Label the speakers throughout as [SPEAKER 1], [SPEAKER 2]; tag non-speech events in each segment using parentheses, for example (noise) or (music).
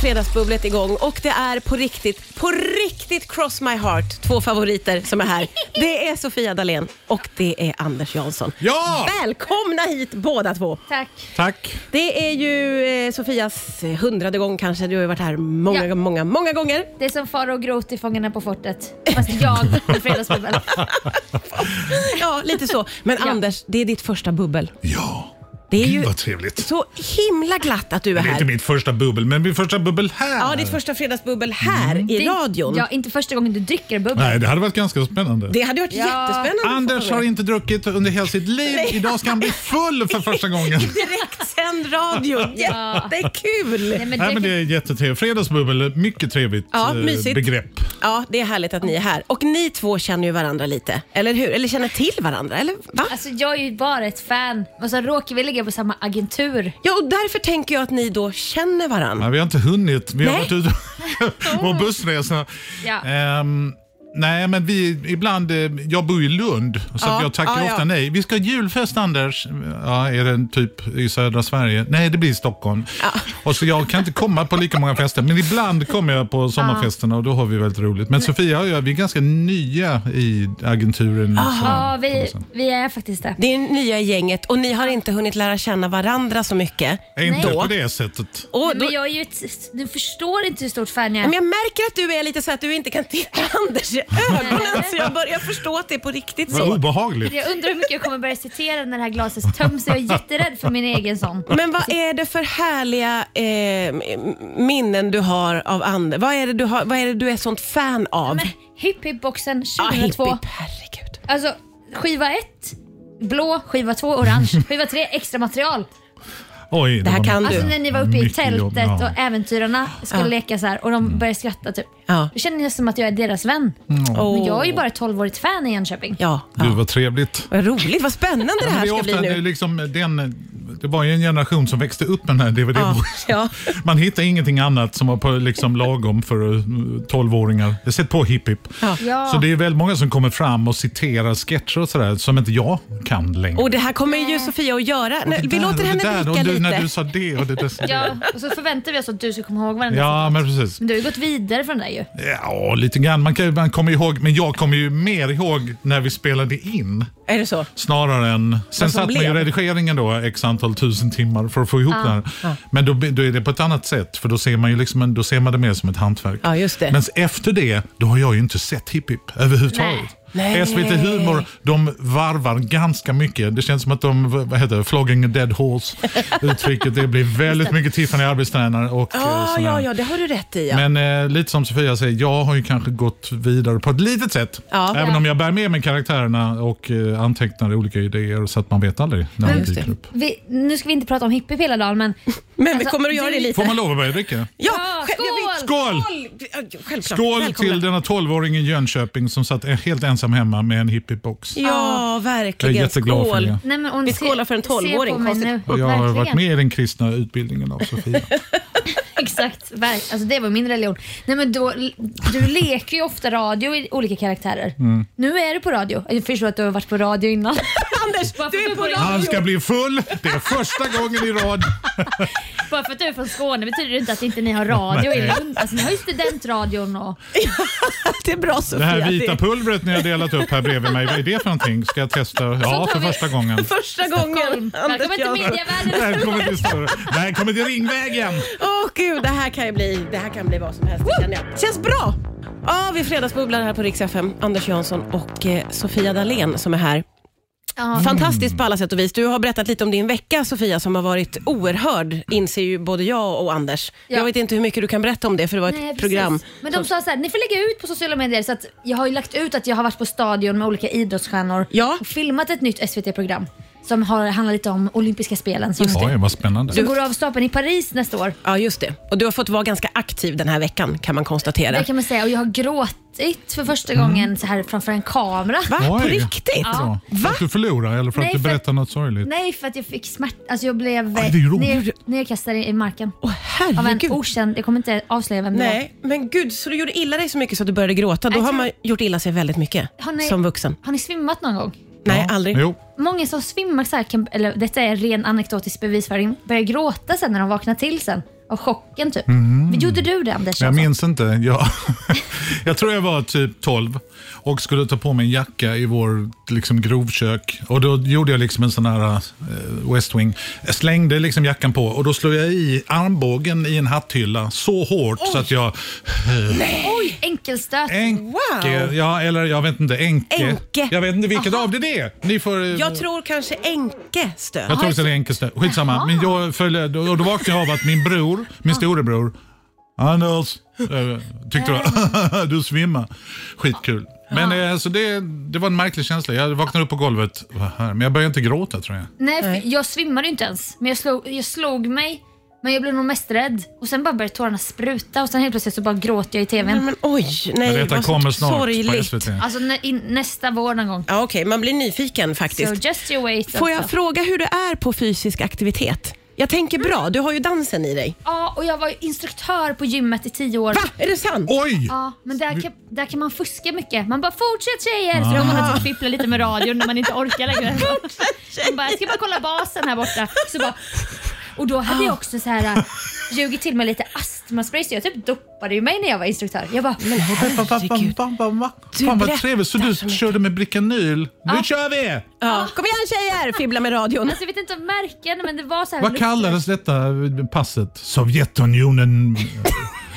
[SPEAKER 1] fredagsbubblet igång och det är på riktigt, på riktigt cross my heart, två favoriter som är här. Det är Sofia Dalén och det är Anders Jansson.
[SPEAKER 2] Ja!
[SPEAKER 1] Välkomna hit båda två.
[SPEAKER 3] Tack.
[SPEAKER 2] Tack.
[SPEAKER 1] Det är ju eh, Sofias eh, hundrade gång kanske, du har ju varit här många,
[SPEAKER 3] Ja.
[SPEAKER 1] många, många gånger.
[SPEAKER 3] Det är som far och grot i Fångarna på fortet. Fast jag i Fredagsbubbel.
[SPEAKER 1] Ja, lite så. Men
[SPEAKER 3] Ja.
[SPEAKER 1] Anders, det är ditt första bubbel.
[SPEAKER 2] Ja,
[SPEAKER 1] Det är
[SPEAKER 2] gud
[SPEAKER 1] ju
[SPEAKER 2] vad trevligt.
[SPEAKER 1] så himla glatt att du är
[SPEAKER 2] Det är inte
[SPEAKER 1] här.
[SPEAKER 2] mitt första bubbel, men mitt första bubbel här.
[SPEAKER 1] Ja, ditt första fredagsbubbel här (laughs) i
[SPEAKER 3] Mm. Det är-
[SPEAKER 1] radion.
[SPEAKER 3] Ja, inte första gången du dricker bubbel.
[SPEAKER 2] Nej, det hade varit ganska spännande.
[SPEAKER 1] Det hade varit
[SPEAKER 3] Ja.
[SPEAKER 1] jättespännande. att få
[SPEAKER 2] Anders
[SPEAKER 1] vara
[SPEAKER 2] har
[SPEAKER 1] med.
[SPEAKER 2] inte druckit under hela sitt liv. Idag ska han bli full för
[SPEAKER 1] (laughs)
[SPEAKER 2] första gången.
[SPEAKER 1] Direktsänd radio,
[SPEAKER 3] (laughs) Ja.
[SPEAKER 1] jättekul!
[SPEAKER 3] Nej, men
[SPEAKER 2] Nej, men det
[SPEAKER 3] det...
[SPEAKER 2] är jättetrevligt. Fredagsbubbel, mycket trevligt
[SPEAKER 1] Ja,
[SPEAKER 2] eh,
[SPEAKER 1] mysigt.
[SPEAKER 2] begrepp.
[SPEAKER 1] Ja, det är härligt att ni är här. Och ni två känner ju varandra lite, eller hur? Eller känner till varandra, eller va?
[SPEAKER 3] Alltså jag är ju bara ett fan och så råkar vi ligga på samma agentur.
[SPEAKER 1] Ja, och därför tänker jag att ni då känner varandra.
[SPEAKER 2] Nej, vi har inte hunnit. Vi har
[SPEAKER 1] Nej.
[SPEAKER 2] varit
[SPEAKER 1] (laughs)
[SPEAKER 2] ute på bussresa.
[SPEAKER 3] Ja.
[SPEAKER 2] Ehm, nej, men vi ibland... eh, Jag bor i Lund, så
[SPEAKER 1] Ja,
[SPEAKER 2] att jag tackar
[SPEAKER 1] ja, ja.
[SPEAKER 2] ofta nej. Vi ska ha julfest, Anders. Ja, är det typ i södra Sverige? Nej, det blir i Stockholm. Och så jag kan inte komma på lika många fester, men ibland kommer jag på sommarfesterna och då har vi väldigt roligt. Men Sofia och jag, vi är ganska nya i agenturen. så-
[SPEAKER 3] Ja,
[SPEAKER 2] på något
[SPEAKER 3] vi,
[SPEAKER 2] sätt.
[SPEAKER 3] vi är faktiskt det.
[SPEAKER 1] Det är nya gänget och ni har inte hunnit lära känna varandra så mycket.
[SPEAKER 2] Inte
[SPEAKER 1] då.
[SPEAKER 2] på det sättet.
[SPEAKER 1] Och då,
[SPEAKER 3] Men jag är ju ett, du förstår inte hur stort fan jag
[SPEAKER 1] men
[SPEAKER 3] är.
[SPEAKER 1] jag märker att du är lite så att du inte kan titta Anders i ögonen så jag börjar förstå att det är på riktigt
[SPEAKER 2] Vad
[SPEAKER 1] så.
[SPEAKER 2] obehagligt.
[SPEAKER 3] Jag undrar hur mycket jag kommer börja citera när det här glaset töms. Jag är jätterädd för min egen sån.
[SPEAKER 1] Men vad är det för härliga eh, minnen du har av Anders? Vad är det du, har, vad är, det du är sånt fan av?
[SPEAKER 3] Men hipp hipp boxen
[SPEAKER 1] Ja, Ah, hipp,
[SPEAKER 3] 2002.
[SPEAKER 1] hipp, herregud.
[SPEAKER 3] Alltså skiva ett blå, skiva
[SPEAKER 1] (laughs)
[SPEAKER 3] två orange, skiva tre extra material.
[SPEAKER 2] Oj,
[SPEAKER 1] Det här
[SPEAKER 2] var-
[SPEAKER 1] kan
[SPEAKER 3] Alltså
[SPEAKER 1] du.
[SPEAKER 3] när ni var uppe i
[SPEAKER 2] Mycket jobb,
[SPEAKER 3] tältet
[SPEAKER 2] ja. Mm.
[SPEAKER 3] och äventyrarna skulle
[SPEAKER 1] Ja.
[SPEAKER 3] leka så här och de började skratta typ.
[SPEAKER 1] Ja.
[SPEAKER 3] Då känner jag som att jag är deras vän. Men jag är ju bara ett 12-årigt fan i Jönköping.
[SPEAKER 1] Ja,
[SPEAKER 2] Gud,
[SPEAKER 1] ja.
[SPEAKER 2] vad trevligt.
[SPEAKER 1] Vad roligt, vad spännande det här
[SPEAKER 2] det, är
[SPEAKER 1] ska
[SPEAKER 2] ofta,
[SPEAKER 1] bli
[SPEAKER 2] det är
[SPEAKER 1] nu.
[SPEAKER 2] liksom den, det var ju en generation som växte upp med den här DVD-boxen.
[SPEAKER 1] Ja,
[SPEAKER 2] (laughs) Man hittar ingenting annat som var på liksom lagom för eh, 12-åringar. Jag har sett på Hipp Hipp.
[SPEAKER 3] Ja.
[SPEAKER 2] Så det är väl många som kommer fram och citerar sketcher och sådär som inte jag kan längre.
[SPEAKER 1] Och det här kommer ju Sofia att göra.
[SPEAKER 2] Och det
[SPEAKER 1] Nej, Vi
[SPEAKER 2] där och
[SPEAKER 1] låter
[SPEAKER 2] det
[SPEAKER 1] henne
[SPEAKER 2] där, och
[SPEAKER 1] dricka
[SPEAKER 2] du, När du
[SPEAKER 1] lite.
[SPEAKER 2] sa det och det där. så-
[SPEAKER 3] (laughs) Ja, och så förväntar vi oss att du ska komma ihåg varandra.
[SPEAKER 2] Ja, men precis.
[SPEAKER 3] Men du har ju gått vidare från det där ju.
[SPEAKER 2] Ja, lite grann. Man, kan, man kommer ihåg, men jag kommer ju mer ihåg när vi spelade in.
[SPEAKER 1] Är det så?
[SPEAKER 2] Snarare än... Sen
[SPEAKER 1] som
[SPEAKER 2] satt man ju i
[SPEAKER 1] blev. Ah,
[SPEAKER 2] redigeringen då x antal tusen timmar för att få ihop det här. Men då, då är det på ett annat sätt, för då ser man, ju liksom, en- då ser man det mer som ett hantverk.
[SPEAKER 1] Ja, just det.
[SPEAKER 2] Men efter det, då har jag ju inte sett Hipp Hipp överhuvudtaget.
[SPEAKER 1] Nej.
[SPEAKER 2] SVT Humor, de varvar ganska mycket. Det känns som att de, vad heter det, flogging a dead horse
[SPEAKER 1] (laughs)
[SPEAKER 2] uttrycket. Det blir väldigt mycket Tiffany arbetstränare och eh,
[SPEAKER 1] Ja,
[SPEAKER 2] sån här.
[SPEAKER 1] Ah, ja, ja, det har du rätt i. Ja.
[SPEAKER 2] Men eh, lite som Sofia säger, jag har ju kanske gått vidare på ett litet sätt.
[SPEAKER 1] Ja.
[SPEAKER 2] även
[SPEAKER 3] Ja.
[SPEAKER 2] om jag bär med mig karaktärerna och eh, antecknar olika idéer så att man vet aldrig när de
[SPEAKER 1] just
[SPEAKER 2] dyker
[SPEAKER 1] det.
[SPEAKER 2] upp.
[SPEAKER 3] Vi, nu ska vi inte prata om hippie hela dagen men...
[SPEAKER 1] Men vi
[SPEAKER 3] Alltså,
[SPEAKER 1] kommer att göra
[SPEAKER 3] du-
[SPEAKER 1] det lite.
[SPEAKER 2] Får man lov att börja dricka?
[SPEAKER 1] Ja, själv-
[SPEAKER 3] Ja,
[SPEAKER 1] jag vill-
[SPEAKER 2] Skål!
[SPEAKER 1] Skål! Självklart.
[SPEAKER 2] Skål
[SPEAKER 1] Välkomna.
[SPEAKER 2] till denna 12-åring i Jönköping som satt helt ensam hemma med en hippie-box.
[SPEAKER 1] Ja, verkligen.
[SPEAKER 2] Jag är jätteglad för
[SPEAKER 1] Skål.
[SPEAKER 2] det.
[SPEAKER 3] Nej, men hon
[SPEAKER 1] Vi
[SPEAKER 3] ser-
[SPEAKER 1] skålar för en
[SPEAKER 3] ser på
[SPEAKER 1] 12-åring,
[SPEAKER 3] mig
[SPEAKER 1] konstigt.
[SPEAKER 3] nu.
[SPEAKER 2] Och jag har
[SPEAKER 3] Verkligen.
[SPEAKER 2] varit med i den kristna utbildningen av
[SPEAKER 1] (laughs)
[SPEAKER 2] Sofia.
[SPEAKER 3] Exakt, verk- alltså det var min religion. Nej, men då, du leker ju ofta radio i olika karaktärer.
[SPEAKER 2] Mm.
[SPEAKER 3] Nu är du på radio. Jag förstår att du har varit på radio innan.
[SPEAKER 1] (laughs) Anders,
[SPEAKER 3] Varför
[SPEAKER 1] du är på
[SPEAKER 3] börjar-
[SPEAKER 1] radio.
[SPEAKER 2] Han ska bli full! Det är första gången i rad.
[SPEAKER 3] Bara för att du är från Skåne betyder det inte att inte ni har radio i Lund. Alltså, ni har ju studentradion och...
[SPEAKER 1] (laughs) Det är bra Sofia.
[SPEAKER 2] Det här
[SPEAKER 1] Det
[SPEAKER 2] vita
[SPEAKER 1] är
[SPEAKER 2] pulvret ni har delat upp här bredvid mig, vad är det för någonting? Ska jag testa? Ja,
[SPEAKER 3] tar
[SPEAKER 2] för
[SPEAKER 3] vi-
[SPEAKER 1] (laughs)
[SPEAKER 2] första gången.
[SPEAKER 1] Första gången Anders
[SPEAKER 3] Välkommen till
[SPEAKER 1] Jansson.
[SPEAKER 3] medievärlden.
[SPEAKER 2] Välkommen till, Stora- Välkommen till Ringvägen!
[SPEAKER 1] Åh gud, det här kan ju bli, det här kan bli vad som helst det känner jag. Känns bra! Ja, vi fredagsbubblar här på Rix FM. Anders Jansson och eh, Sofia Dalén som är här.
[SPEAKER 3] Ja.
[SPEAKER 1] Fantastiskt på alla sätt och vis. Du har berättat lite om din vecka Sofia som har varit oerhörd, inser ju både jag och Anders.
[SPEAKER 3] Ja.
[SPEAKER 1] Jag vet inte hur mycket du kan berätta om det för det var ett
[SPEAKER 3] Nej, precis.
[SPEAKER 1] program.
[SPEAKER 3] Men de sa så här, ni får lägga ut på sociala medier. Så att jag har ju lagt ut att jag har varit på stadion med olika idrottsstjärnor
[SPEAKER 1] Ja.
[SPEAKER 3] och filmat ett nytt SVT-program som har, handlar lite om olympiska spelen. Som,
[SPEAKER 2] Oj, vad spännande.
[SPEAKER 3] som går av stapeln i Paris nästa år.
[SPEAKER 1] Ja, just det. Och du har fått vara ganska aktiv den här veckan kan man konstatera.
[SPEAKER 3] Det kan man säga. Och jag har gråtit för första gången så här framför en kamera.
[SPEAKER 1] Va? På
[SPEAKER 2] Oj.
[SPEAKER 1] riktigt?
[SPEAKER 2] Ja. För
[SPEAKER 1] Va?
[SPEAKER 2] att du förlorar eller för
[SPEAKER 3] Nej,
[SPEAKER 2] att du
[SPEAKER 3] för-
[SPEAKER 2] berättar något sorgligt?
[SPEAKER 3] Nej, för att jag fick smärta. Alltså jag blev
[SPEAKER 2] Aj, det är ju roligt.
[SPEAKER 3] ner, nerkastad i i marken.
[SPEAKER 1] Åh
[SPEAKER 3] Av en
[SPEAKER 1] herregud.
[SPEAKER 3] okänd, jag kommer inte avslöja vem det
[SPEAKER 1] Nej, men gud, så du gjorde illa dig så mycket så att du började gråta. Då
[SPEAKER 3] Jag
[SPEAKER 1] har
[SPEAKER 3] tror-
[SPEAKER 1] man gjort illa sig väldigt mycket
[SPEAKER 3] Har ni-
[SPEAKER 1] som vuxen.
[SPEAKER 3] var. Har ni svimmat någon gång?
[SPEAKER 1] Nej, aldrig.
[SPEAKER 2] Jo,
[SPEAKER 3] många som svimmar, så här, kan, eller detta är ren anekdotisk bevisföring, börjar gråta sen när de vaknar till sen. Av chocken typ. Gjorde du det Anders?
[SPEAKER 2] Jag
[SPEAKER 3] Jansson?
[SPEAKER 2] minns inte. Jag, (laughs) jag tror jag var typ 12 och skulle ta på mig en jacka i vår liksom, grovkök. Och då gjorde jag liksom en sån här eh, West Wing. Jag slängde liksom jackan på och då slog jag i armbågen i en hatthylla så hårt så att jag...
[SPEAKER 3] Alltså, Oj, enkelstöt.
[SPEAKER 2] Enke,
[SPEAKER 1] Wow.
[SPEAKER 2] ja, eller jag vet inte, enke.
[SPEAKER 1] Enke.
[SPEAKER 2] Jag vet inte vilket av det det är. Ni får... eh,
[SPEAKER 1] Jag tror kanske enkestöd.
[SPEAKER 2] Jag tror att det är enkelt. Skitsamma. Men jag följde, och då vaknade jag av att min bror, min storebror, Anders, eh, tyckte då, (laughs) du svimmar. Skitkul. Men eh, alltså det, det var en märklig känsla. Jag vaknade upp på golvet, vad här? men jag började inte gråta tror jag.
[SPEAKER 3] Nej, för jag svimmade ju inte ens. Men jag slog, jag slog mig. Men jag blev nog mest rädd. Och sen bara började tårarna spruta och sen helt plötsligt så bara gråter jag i
[SPEAKER 1] Nej,
[SPEAKER 3] TVn.
[SPEAKER 1] Men oj, nej
[SPEAKER 2] jag vet, den
[SPEAKER 1] vad så
[SPEAKER 2] kommer snart på
[SPEAKER 1] sorgligt.
[SPEAKER 2] SVT.
[SPEAKER 3] Alltså nä, i, nästa vår någon gång.
[SPEAKER 1] Ja, Okej, man blir nyfiken
[SPEAKER 3] So
[SPEAKER 1] faktiskt.
[SPEAKER 3] just you wait.
[SPEAKER 1] Får jag
[SPEAKER 3] alltså.
[SPEAKER 1] fråga hur du är på fysisk aktivitet? Jag tänker bra, du har ju dansen i dig.
[SPEAKER 3] Ja, och jag var ju instruktör på gymmet i tio år.
[SPEAKER 1] Va? Är det sant?
[SPEAKER 2] Oj!
[SPEAKER 3] Ja, men där kan, där kan man fuska mycket. Man bara “fortsätt tjejer”
[SPEAKER 2] Ah.
[SPEAKER 3] så då har man och fipplar lite med radion när man inte orkar längre.
[SPEAKER 2] (laughs)
[SPEAKER 3] Man bara “jag ska bara kolla basen här borta”. Så bara, och då hade jag också så här äh, ljugit till mig lite astmaspray så jag typ dopade ju mig när jag var instruktör. Jag bara
[SPEAKER 1] Herregud. Du
[SPEAKER 2] Fan vad
[SPEAKER 1] berättar
[SPEAKER 2] trevligt. Så du
[SPEAKER 1] så mycket.
[SPEAKER 2] körde med Bricanyl. Nu kör vi!
[SPEAKER 1] Ja. Kom igen tjejer, fibbla med radion.
[SPEAKER 3] Alltså jag vet inte om märken men det var så här
[SPEAKER 2] Vad kallades detta passet? Sovjetunionen
[SPEAKER 1] (laughs)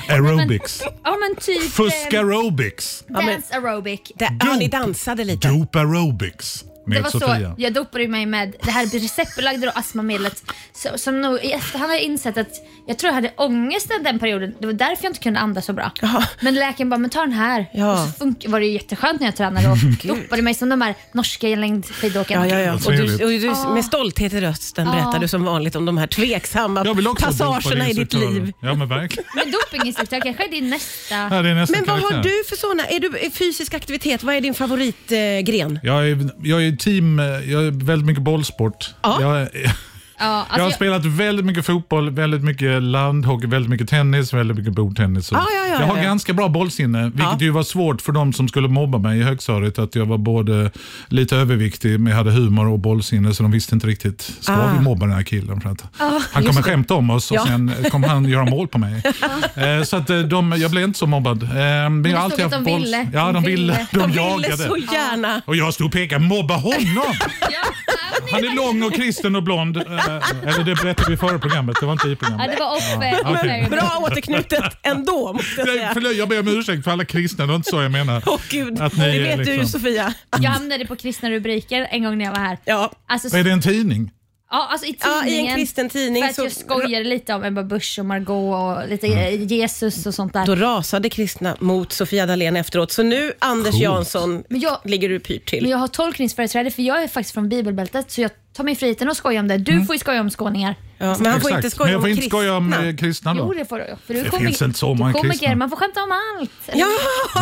[SPEAKER 2] aerobics.
[SPEAKER 3] Ja men typ
[SPEAKER 2] Fusk
[SPEAKER 3] eh,
[SPEAKER 2] aerobics.
[SPEAKER 1] men-
[SPEAKER 3] dance aerobic.
[SPEAKER 1] Där, ja, ni dansade lite.
[SPEAKER 2] Dope aerobics med
[SPEAKER 3] Det var
[SPEAKER 2] Sofia.
[SPEAKER 3] så jag dopade mig med det här receptbelagda då, astmamedlet. Så, som nog, i efterhand har jag insett att jag tror jag hade ångest den, den perioden. Det var därför jag inte kunde andas så bra.
[SPEAKER 1] Jaha.
[SPEAKER 3] Men läkaren bara, men ta den här.
[SPEAKER 1] Ja.
[SPEAKER 3] Och så funk- var det ju jätteskönt när jag tränade
[SPEAKER 1] (laughs)
[SPEAKER 3] och dopade mig som de här norska längdskidåkarna.
[SPEAKER 1] Ja, ja, ja.
[SPEAKER 2] Vad
[SPEAKER 1] Och du,
[SPEAKER 2] trevligt.
[SPEAKER 1] och du, med stolthet i rösten berättar du som vanligt om de här
[SPEAKER 2] Jag vill
[SPEAKER 1] tveksamma
[SPEAKER 2] också
[SPEAKER 1] passagerna i
[SPEAKER 2] dumpa
[SPEAKER 1] ditt liv.
[SPEAKER 2] Ja men verkligen.
[SPEAKER 3] Men dopinginstruktör kanske är din nästa...
[SPEAKER 2] Här är nästa
[SPEAKER 1] Men vad har
[SPEAKER 2] karaktär.
[SPEAKER 1] du för såna? Är du är fysisk aktivitet, vad är din favoritgren?
[SPEAKER 2] Jag är, jag är team, eh, jag är väldigt mycket bollsport.
[SPEAKER 1] Ja.
[SPEAKER 2] Jag, är-
[SPEAKER 3] Ja, alltså
[SPEAKER 2] jag har
[SPEAKER 3] jag-
[SPEAKER 2] spelat väldigt mycket fotboll, väldigt mycket landhockey, väldigt mycket tennis, väldigt mycket bordtennis. Och
[SPEAKER 1] Ah, Ja, ja, ja,
[SPEAKER 2] jag har
[SPEAKER 1] ja, ja.
[SPEAKER 2] ganska bra bollsinne, vilket
[SPEAKER 1] Ja.
[SPEAKER 2] ju var svårt för de som skulle mobba mig i högstadiet. Att jag var både lite överviktig, men jag hade humor och bollsinne, så de visste inte riktigt. Ska
[SPEAKER 1] Ah.
[SPEAKER 2] vi mobba den här killen? För att han kommer skämta om oss och
[SPEAKER 1] Ja.
[SPEAKER 2] sen kommer han göra mål
[SPEAKER 1] (laughs)
[SPEAKER 2] på mig. Eh, så att eh, de, jag blev inte så mobbad. Eh, Men jag har
[SPEAKER 3] stod
[SPEAKER 2] alltid
[SPEAKER 3] att
[SPEAKER 2] haft
[SPEAKER 3] de
[SPEAKER 2] bolls-
[SPEAKER 3] ville.
[SPEAKER 2] Ja, de
[SPEAKER 3] De
[SPEAKER 2] ville.
[SPEAKER 3] ville.
[SPEAKER 2] De,
[SPEAKER 1] De ville
[SPEAKER 2] jagade.
[SPEAKER 1] så gärna.
[SPEAKER 2] Och jag stod och pekade, mobba honom!
[SPEAKER 3] Ja,
[SPEAKER 2] Han är lång och kristen och blond. Eh, Eller det berättade vi i förra programmet, det var inte i
[SPEAKER 3] ja,
[SPEAKER 2] programmet.
[SPEAKER 3] det var off eh,
[SPEAKER 2] okej.
[SPEAKER 3] off air.
[SPEAKER 1] Bra återknutet ändå måste jag
[SPEAKER 2] Nej,
[SPEAKER 1] säga.
[SPEAKER 2] förlåt, jag ber om ursäkt för alla kristna, det var inte så jag menar.
[SPEAKER 1] Åh gud,
[SPEAKER 2] Att ni
[SPEAKER 1] det
[SPEAKER 2] är
[SPEAKER 1] vet du ju
[SPEAKER 2] liksom-
[SPEAKER 1] Sofia.
[SPEAKER 3] Jag hamnade på kristna rubriker en gång när jag var här.
[SPEAKER 1] Ja.
[SPEAKER 3] Alltså,
[SPEAKER 2] Är det en tidning?
[SPEAKER 3] Ja, alltså i tidningen.
[SPEAKER 1] Ja, i en kristen tidning
[SPEAKER 3] För att
[SPEAKER 1] så-
[SPEAKER 3] jag skojade lite om Ebba Busch och Margot och lite
[SPEAKER 2] Mm.
[SPEAKER 3] Jesus och sånt där.
[SPEAKER 1] Då rasade kristna mot Sofia Dalén efteråt, så nu Anders
[SPEAKER 2] Coolt.
[SPEAKER 1] Jansson
[SPEAKER 3] Men jag-
[SPEAKER 1] ligger du pyrt till.
[SPEAKER 3] Men jag har tolkningsföreträde för jag är faktiskt från bibelbältet så jag tar mig friheten och skoja om det.
[SPEAKER 2] Mm.
[SPEAKER 3] Du får ju skoja om skåningar.
[SPEAKER 1] ja, men han får inte skoja
[SPEAKER 2] Men jag får
[SPEAKER 1] om
[SPEAKER 2] inte
[SPEAKER 1] kristna.
[SPEAKER 2] skoja om eh, kristna
[SPEAKER 3] Jo,
[SPEAKER 2] då.
[SPEAKER 3] det får du. För du är
[SPEAKER 2] Det
[SPEAKER 3] komi-
[SPEAKER 2] finns inte så
[SPEAKER 3] du är
[SPEAKER 2] många
[SPEAKER 3] komiker,
[SPEAKER 2] kristna.
[SPEAKER 3] Man får skämta om allt.
[SPEAKER 1] Ja, (laughs)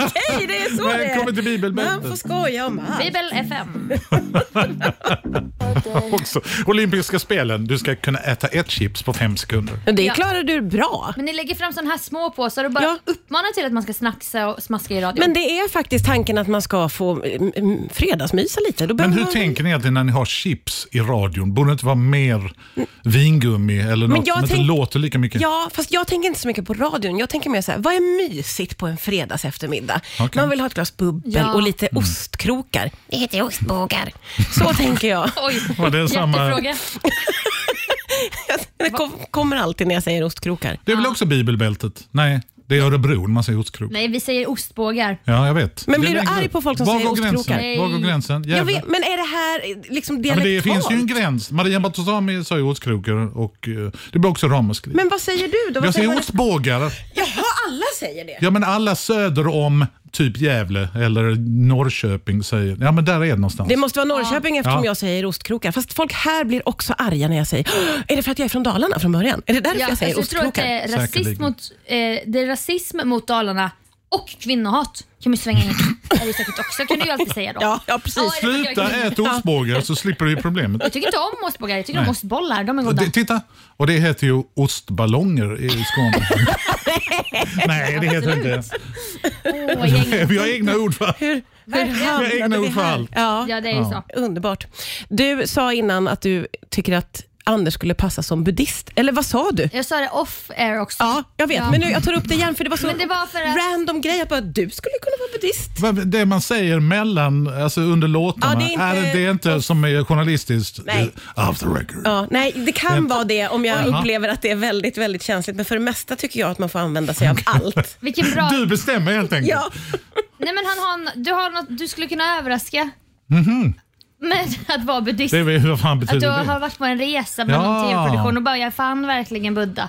[SPEAKER 1] okej det är så det
[SPEAKER 2] Välkommen
[SPEAKER 1] är.
[SPEAKER 2] till
[SPEAKER 1] Man får
[SPEAKER 2] bibelbältet.
[SPEAKER 1] skoja om allt.
[SPEAKER 3] Bibel FM.
[SPEAKER 2] (laughs) Också. Olympiska spelen, du ska kunna äta ett chips på fem sekunder.
[SPEAKER 1] Men Det
[SPEAKER 3] Ja.
[SPEAKER 1] klarar du bra.
[SPEAKER 3] Men ni lägger fram sådana här små påsar och bara
[SPEAKER 1] Ja.
[SPEAKER 3] uppmanar till att man ska snacksa och smaska i radio.
[SPEAKER 1] Men det är faktiskt tanken att man ska få mm, mm, fredagsmysa lite. Då
[SPEAKER 2] Men
[SPEAKER 1] behöver
[SPEAKER 2] hur
[SPEAKER 1] man...
[SPEAKER 2] tänker ni egentligen när ni har chips i radion? Borde det inte vara mer vingummi eller något
[SPEAKER 1] jag
[SPEAKER 2] som inte
[SPEAKER 1] tänk-
[SPEAKER 2] låter lika mycket?
[SPEAKER 1] Ja, fast jag tänker inte så mycket på radion. Jag tänker mer så här, vad är mysigt på en fredags eftermiddag?
[SPEAKER 2] Okej. Mm.
[SPEAKER 1] Man vill ha ett glas bubbel
[SPEAKER 3] Ja.
[SPEAKER 1] och lite ostkrokar. Det heter ostbågar. Så tänker
[SPEAKER 3] (laughs)
[SPEAKER 1] jag.
[SPEAKER 3] Oj,
[SPEAKER 2] Var det samma-
[SPEAKER 3] jättefråga.
[SPEAKER 1] Det kom, kommer alltid när jag säger ostkrokar.
[SPEAKER 2] Det är väl också bibelbältet? Nej, det är Örebro man säger ostkrok.
[SPEAKER 3] Nej, vi säger ostbågar.
[SPEAKER 2] Ja, jag vet.
[SPEAKER 1] Men
[SPEAKER 2] Det är
[SPEAKER 1] blir du
[SPEAKER 2] längre
[SPEAKER 1] arg
[SPEAKER 2] upp.
[SPEAKER 1] på folk som
[SPEAKER 2] Var
[SPEAKER 1] säger
[SPEAKER 2] går gränsen?
[SPEAKER 1] ostkrokar?
[SPEAKER 2] Var går gränsen?
[SPEAKER 1] Jag
[SPEAKER 2] Jävlar.
[SPEAKER 1] vet, men är det här eh, liksom
[SPEAKER 2] Ja, men
[SPEAKER 1] dialektalt?
[SPEAKER 2] det finns ju en gräns. Maria Bartolomé sa ju ostkrokar och eh, det blir också ramaskri.
[SPEAKER 1] Men vad säger du då? Vad
[SPEAKER 2] Jag
[SPEAKER 1] säger
[SPEAKER 2] säger
[SPEAKER 1] man-
[SPEAKER 2] ostbågar.
[SPEAKER 1] Jaha, alla säger det?
[SPEAKER 2] Ja, men alla söder om typ Gävle eller Norrköping säger... Ja, men där är det någonstans.
[SPEAKER 1] Det måste vara Norrköping eftersom
[SPEAKER 2] Ja.
[SPEAKER 1] jag säger ostkrokar. Fast folk här blir också arga när jag säger "Åh, Är det för att jag är från Dalarna från början? Är det därför jag säger
[SPEAKER 3] alltså, tror att
[SPEAKER 1] ostkrokar?
[SPEAKER 3] det är, rasism
[SPEAKER 2] Säkerligen.
[SPEAKER 3] mot, eh, det är rasism mot Dalarna och kvinnohat kan man ju svänga in. Det är det säkert också, kan du ju alltid säga då.
[SPEAKER 1] Ja, ja, precis.
[SPEAKER 3] Ja, det tycker
[SPEAKER 2] Sluta
[SPEAKER 3] jag är kul.
[SPEAKER 2] äta ostbågar så slipper du ju problemet.
[SPEAKER 1] (laughs)
[SPEAKER 3] Jag tycker inte om ostbågar, jag tycker
[SPEAKER 2] Nej.
[SPEAKER 3] om ostbollar. De är
[SPEAKER 2] Och
[SPEAKER 3] goda.
[SPEAKER 2] det, titta, och det heter ju ostballonger
[SPEAKER 1] (laughs)
[SPEAKER 2] i Skåne. Nej, det heter det inte.
[SPEAKER 3] Åh, gäng.
[SPEAKER 1] (laughs)
[SPEAKER 2] Vi har egna ord för
[SPEAKER 1] Hur hamnade vi
[SPEAKER 2] egna ord för
[SPEAKER 1] här?
[SPEAKER 2] allt.
[SPEAKER 1] Ja.
[SPEAKER 3] Ja, det är ju så.
[SPEAKER 1] Underbart. Du sa innan att du tycker att Anders skulle passa som buddhist. Eller vad sa du?
[SPEAKER 3] Jag sa det off air också.
[SPEAKER 1] Ja, jag vet.
[SPEAKER 3] Ja.
[SPEAKER 1] Men nu, jag tar upp det igen för det var så
[SPEAKER 3] Men det var för att-
[SPEAKER 1] random grej att bara, du skulle kunna vara buddhist.
[SPEAKER 2] Vad- Det man säger mellan, alltså under låtarna,
[SPEAKER 1] Ja, det
[SPEAKER 2] det
[SPEAKER 1] är
[SPEAKER 2] är
[SPEAKER 1] inte-
[SPEAKER 2] det, det är inte som är journalistiskt
[SPEAKER 1] Nej.
[SPEAKER 2] eh, off the record.
[SPEAKER 1] Ja, nej, det kan vara det om jag
[SPEAKER 2] Jaha.
[SPEAKER 1] upplever att det är väldigt, väldigt känsligt. Men för det mesta tycker jag att man får använda sig av
[SPEAKER 3] (laughs)
[SPEAKER 1] allt.
[SPEAKER 3] Vilken bra...
[SPEAKER 2] Du bestämmer helt enkelt.
[SPEAKER 1] Ja.
[SPEAKER 3] Nej men han har, en- du har något du skulle kunna överraska. Med att vara buddhist.
[SPEAKER 2] Mhm. Det är väl, vad fan
[SPEAKER 3] Att du
[SPEAKER 2] betyder det?
[SPEAKER 3] har varit på en resa med
[SPEAKER 2] Ja.
[SPEAKER 3] någon tv-produktion och bara jag fann verkligen Buddha.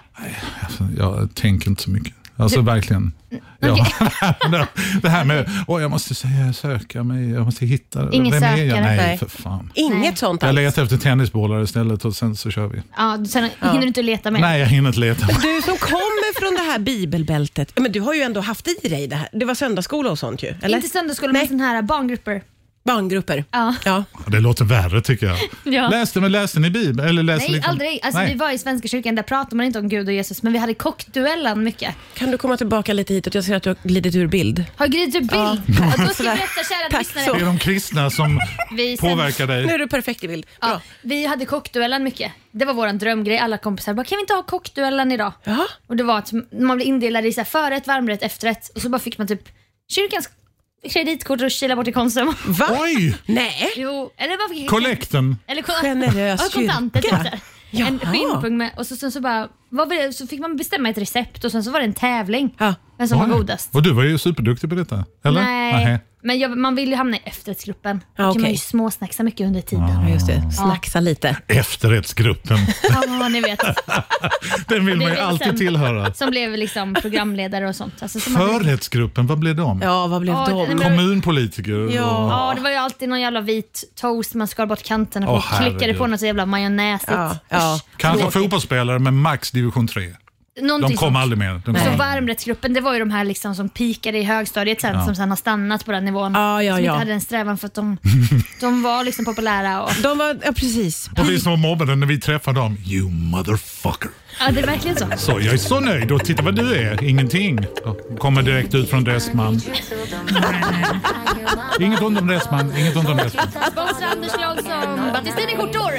[SPEAKER 2] Alltså, jag tänker inte så mycket. Alltså verkligen. Ja. (laughs) det här med, åh jag måste säga, söka mig, jag måste hitta.
[SPEAKER 3] Ingen
[SPEAKER 2] Vem är
[SPEAKER 3] sökare.
[SPEAKER 2] jag? Nej,
[SPEAKER 1] Nej.
[SPEAKER 2] för fan.
[SPEAKER 1] Inget
[SPEAKER 3] Nej.
[SPEAKER 1] sånt
[SPEAKER 2] Jag
[SPEAKER 1] alls.
[SPEAKER 2] letar efter tennisbollar istället och sen så kör vi.
[SPEAKER 3] Ja, sen hinner du inte leta mer.
[SPEAKER 2] Nej, jag hinner inte leta.
[SPEAKER 1] (laughs) Du som kommer från det här bibelbältet, men du har ju ändå haft i dig det här. Det var söndagsskola och sånt ju, eller?
[SPEAKER 3] Inte söndagsskola,
[SPEAKER 1] Nej.
[SPEAKER 3] men sån här barngrupper.
[SPEAKER 1] Barngrupper.
[SPEAKER 3] Ja.
[SPEAKER 1] Ja.
[SPEAKER 2] Det låter värre tycker jag.
[SPEAKER 3] Ja.
[SPEAKER 2] Läste, men läste ni Bibeln? Eller läste
[SPEAKER 3] Nej,
[SPEAKER 2] alltså liksom-
[SPEAKER 3] aldrig. Alltså,
[SPEAKER 2] Nej.
[SPEAKER 3] Vi var i Svenska kyrkan, där pratade man inte om Gud och Jesus, men vi hade kockduellen mycket.
[SPEAKER 1] Kan du komma tillbaka lite hitåt? Jag ser att du har glidit ur bild.
[SPEAKER 3] Har Grid du bild? Ja. Då ska jag berätta, kära
[SPEAKER 1] Tack
[SPEAKER 2] Det
[SPEAKER 3] lyssnare.
[SPEAKER 2] är de kristna som
[SPEAKER 3] Vi sen-
[SPEAKER 2] påverkar dig.
[SPEAKER 1] Nu är du perfekt i bild.
[SPEAKER 3] Ja,
[SPEAKER 1] Bra.
[SPEAKER 3] vi hade kockduellen mycket. Det var vår drömgrej. Alla kompisar bara, kan vi inte ha kockduellen idag?
[SPEAKER 1] Jaha.
[SPEAKER 3] Och det var att man blev indelad i så här förrätt, varmrätt, efterrätt och så bara fick man typ kyrkans kreditkort och kila bort i Konsum.
[SPEAKER 1] Va?
[SPEAKER 2] Oj!
[SPEAKER 1] Nej.
[SPEAKER 3] Jo, eller vad fick
[SPEAKER 2] Kollekten.
[SPEAKER 3] Eller ko-
[SPEAKER 1] Generös
[SPEAKER 3] ja, kontanter typ
[SPEAKER 1] kyrka.
[SPEAKER 3] såhär.
[SPEAKER 1] Jaha.
[SPEAKER 3] En skinnpung med, och så, sen så bara, vad var det, så fick man bestämma ett recept och sen så var det en tävling.
[SPEAKER 1] Ja.
[SPEAKER 3] Vem som var
[SPEAKER 2] Oj.
[SPEAKER 3] godast.
[SPEAKER 2] Och du var ju superduktig på detta. Eller?
[SPEAKER 3] Nej,
[SPEAKER 2] Nähä.
[SPEAKER 3] men jag, man vill ju hamna i efterrättsgruppen. Då
[SPEAKER 1] Ja,
[SPEAKER 3] kan man
[SPEAKER 1] okej.
[SPEAKER 3] ju småsnacksa mycket under tiden.
[SPEAKER 1] Ja, just det. Snacksa lite.
[SPEAKER 3] (laughs)
[SPEAKER 2] Efterrättsgruppen.
[SPEAKER 3] Ja, ni vet.
[SPEAKER 2] Den vill
[SPEAKER 3] Det är
[SPEAKER 2] man ju
[SPEAKER 3] väl sen-
[SPEAKER 2] alltid tillhöra.
[SPEAKER 3] Som blev liksom programledare och sånt. Alltså, som man-
[SPEAKER 2] Förrättsgruppen, vad blev de?
[SPEAKER 1] Ja, vad blev
[SPEAKER 3] Ja, nej,
[SPEAKER 1] de?
[SPEAKER 3] men-
[SPEAKER 2] Kommunpolitiker? och-
[SPEAKER 1] Ja.
[SPEAKER 3] Ja, det var ju alltid någon jävla vit toast man skar bort kanterna på
[SPEAKER 2] Åh,
[SPEAKER 3] och klickade
[SPEAKER 2] herregud.
[SPEAKER 3] på något så jävla majonnäsigt.
[SPEAKER 1] Ja, ja.
[SPEAKER 3] Usch,
[SPEAKER 2] Kanske
[SPEAKER 3] tråkigt.
[SPEAKER 2] fotbollsspelare med max division 3.
[SPEAKER 3] Någonting
[SPEAKER 2] De kom
[SPEAKER 3] sånt.
[SPEAKER 2] aldrig mer. De kom
[SPEAKER 3] Så
[SPEAKER 2] aldrig.
[SPEAKER 3] varmrättsgruppen, det var ju de här liksom som pikade i högstadiet sen, som sen har stannat på den nivån.
[SPEAKER 1] Ja, ja,
[SPEAKER 3] som
[SPEAKER 1] ja.
[SPEAKER 3] inte hade en strävan för att de, de var liksom populära. Och,
[SPEAKER 1] De var, ja precis.
[SPEAKER 2] Och vi som var mobbade när vi träffade dem. You motherfucker.
[SPEAKER 3] ja, det är verkligen så.
[SPEAKER 2] Så jag är så nöjd och titta vad du är. Ingenting. Kommer direkt ut från Dressman. Inget ont om Dressman. Inget ont om Dressman.
[SPEAKER 3] Sponsra Anders Larsson, Battistinekortor!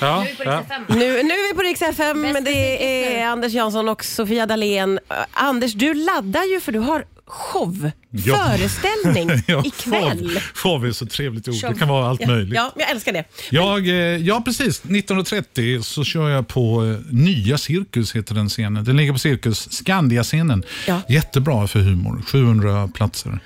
[SPEAKER 2] Ja,
[SPEAKER 3] nu är vi på
[SPEAKER 2] ja.
[SPEAKER 3] riksdag fem.
[SPEAKER 1] Nu, nu är vi på Rix FM, men det är Anders Jansson och Sofia Dalén. Eh, Anders, du laddar ju för du har show,
[SPEAKER 2] Ja.
[SPEAKER 1] föreställning
[SPEAKER 2] (laughs) Ja,
[SPEAKER 1] ikväll.
[SPEAKER 2] Show, show är ett så trevligt ord. Det kan vara allt möjligt.
[SPEAKER 1] Ja, jag älskar det.
[SPEAKER 2] Jag, eh, ja, precis. 19.30 så kör jag på eh, Nya Cirkus, heter den scenen. Den ligger på Cirkus, Skandia-scenen.
[SPEAKER 1] Ja.
[SPEAKER 2] Jättebra för humor. 700 platser.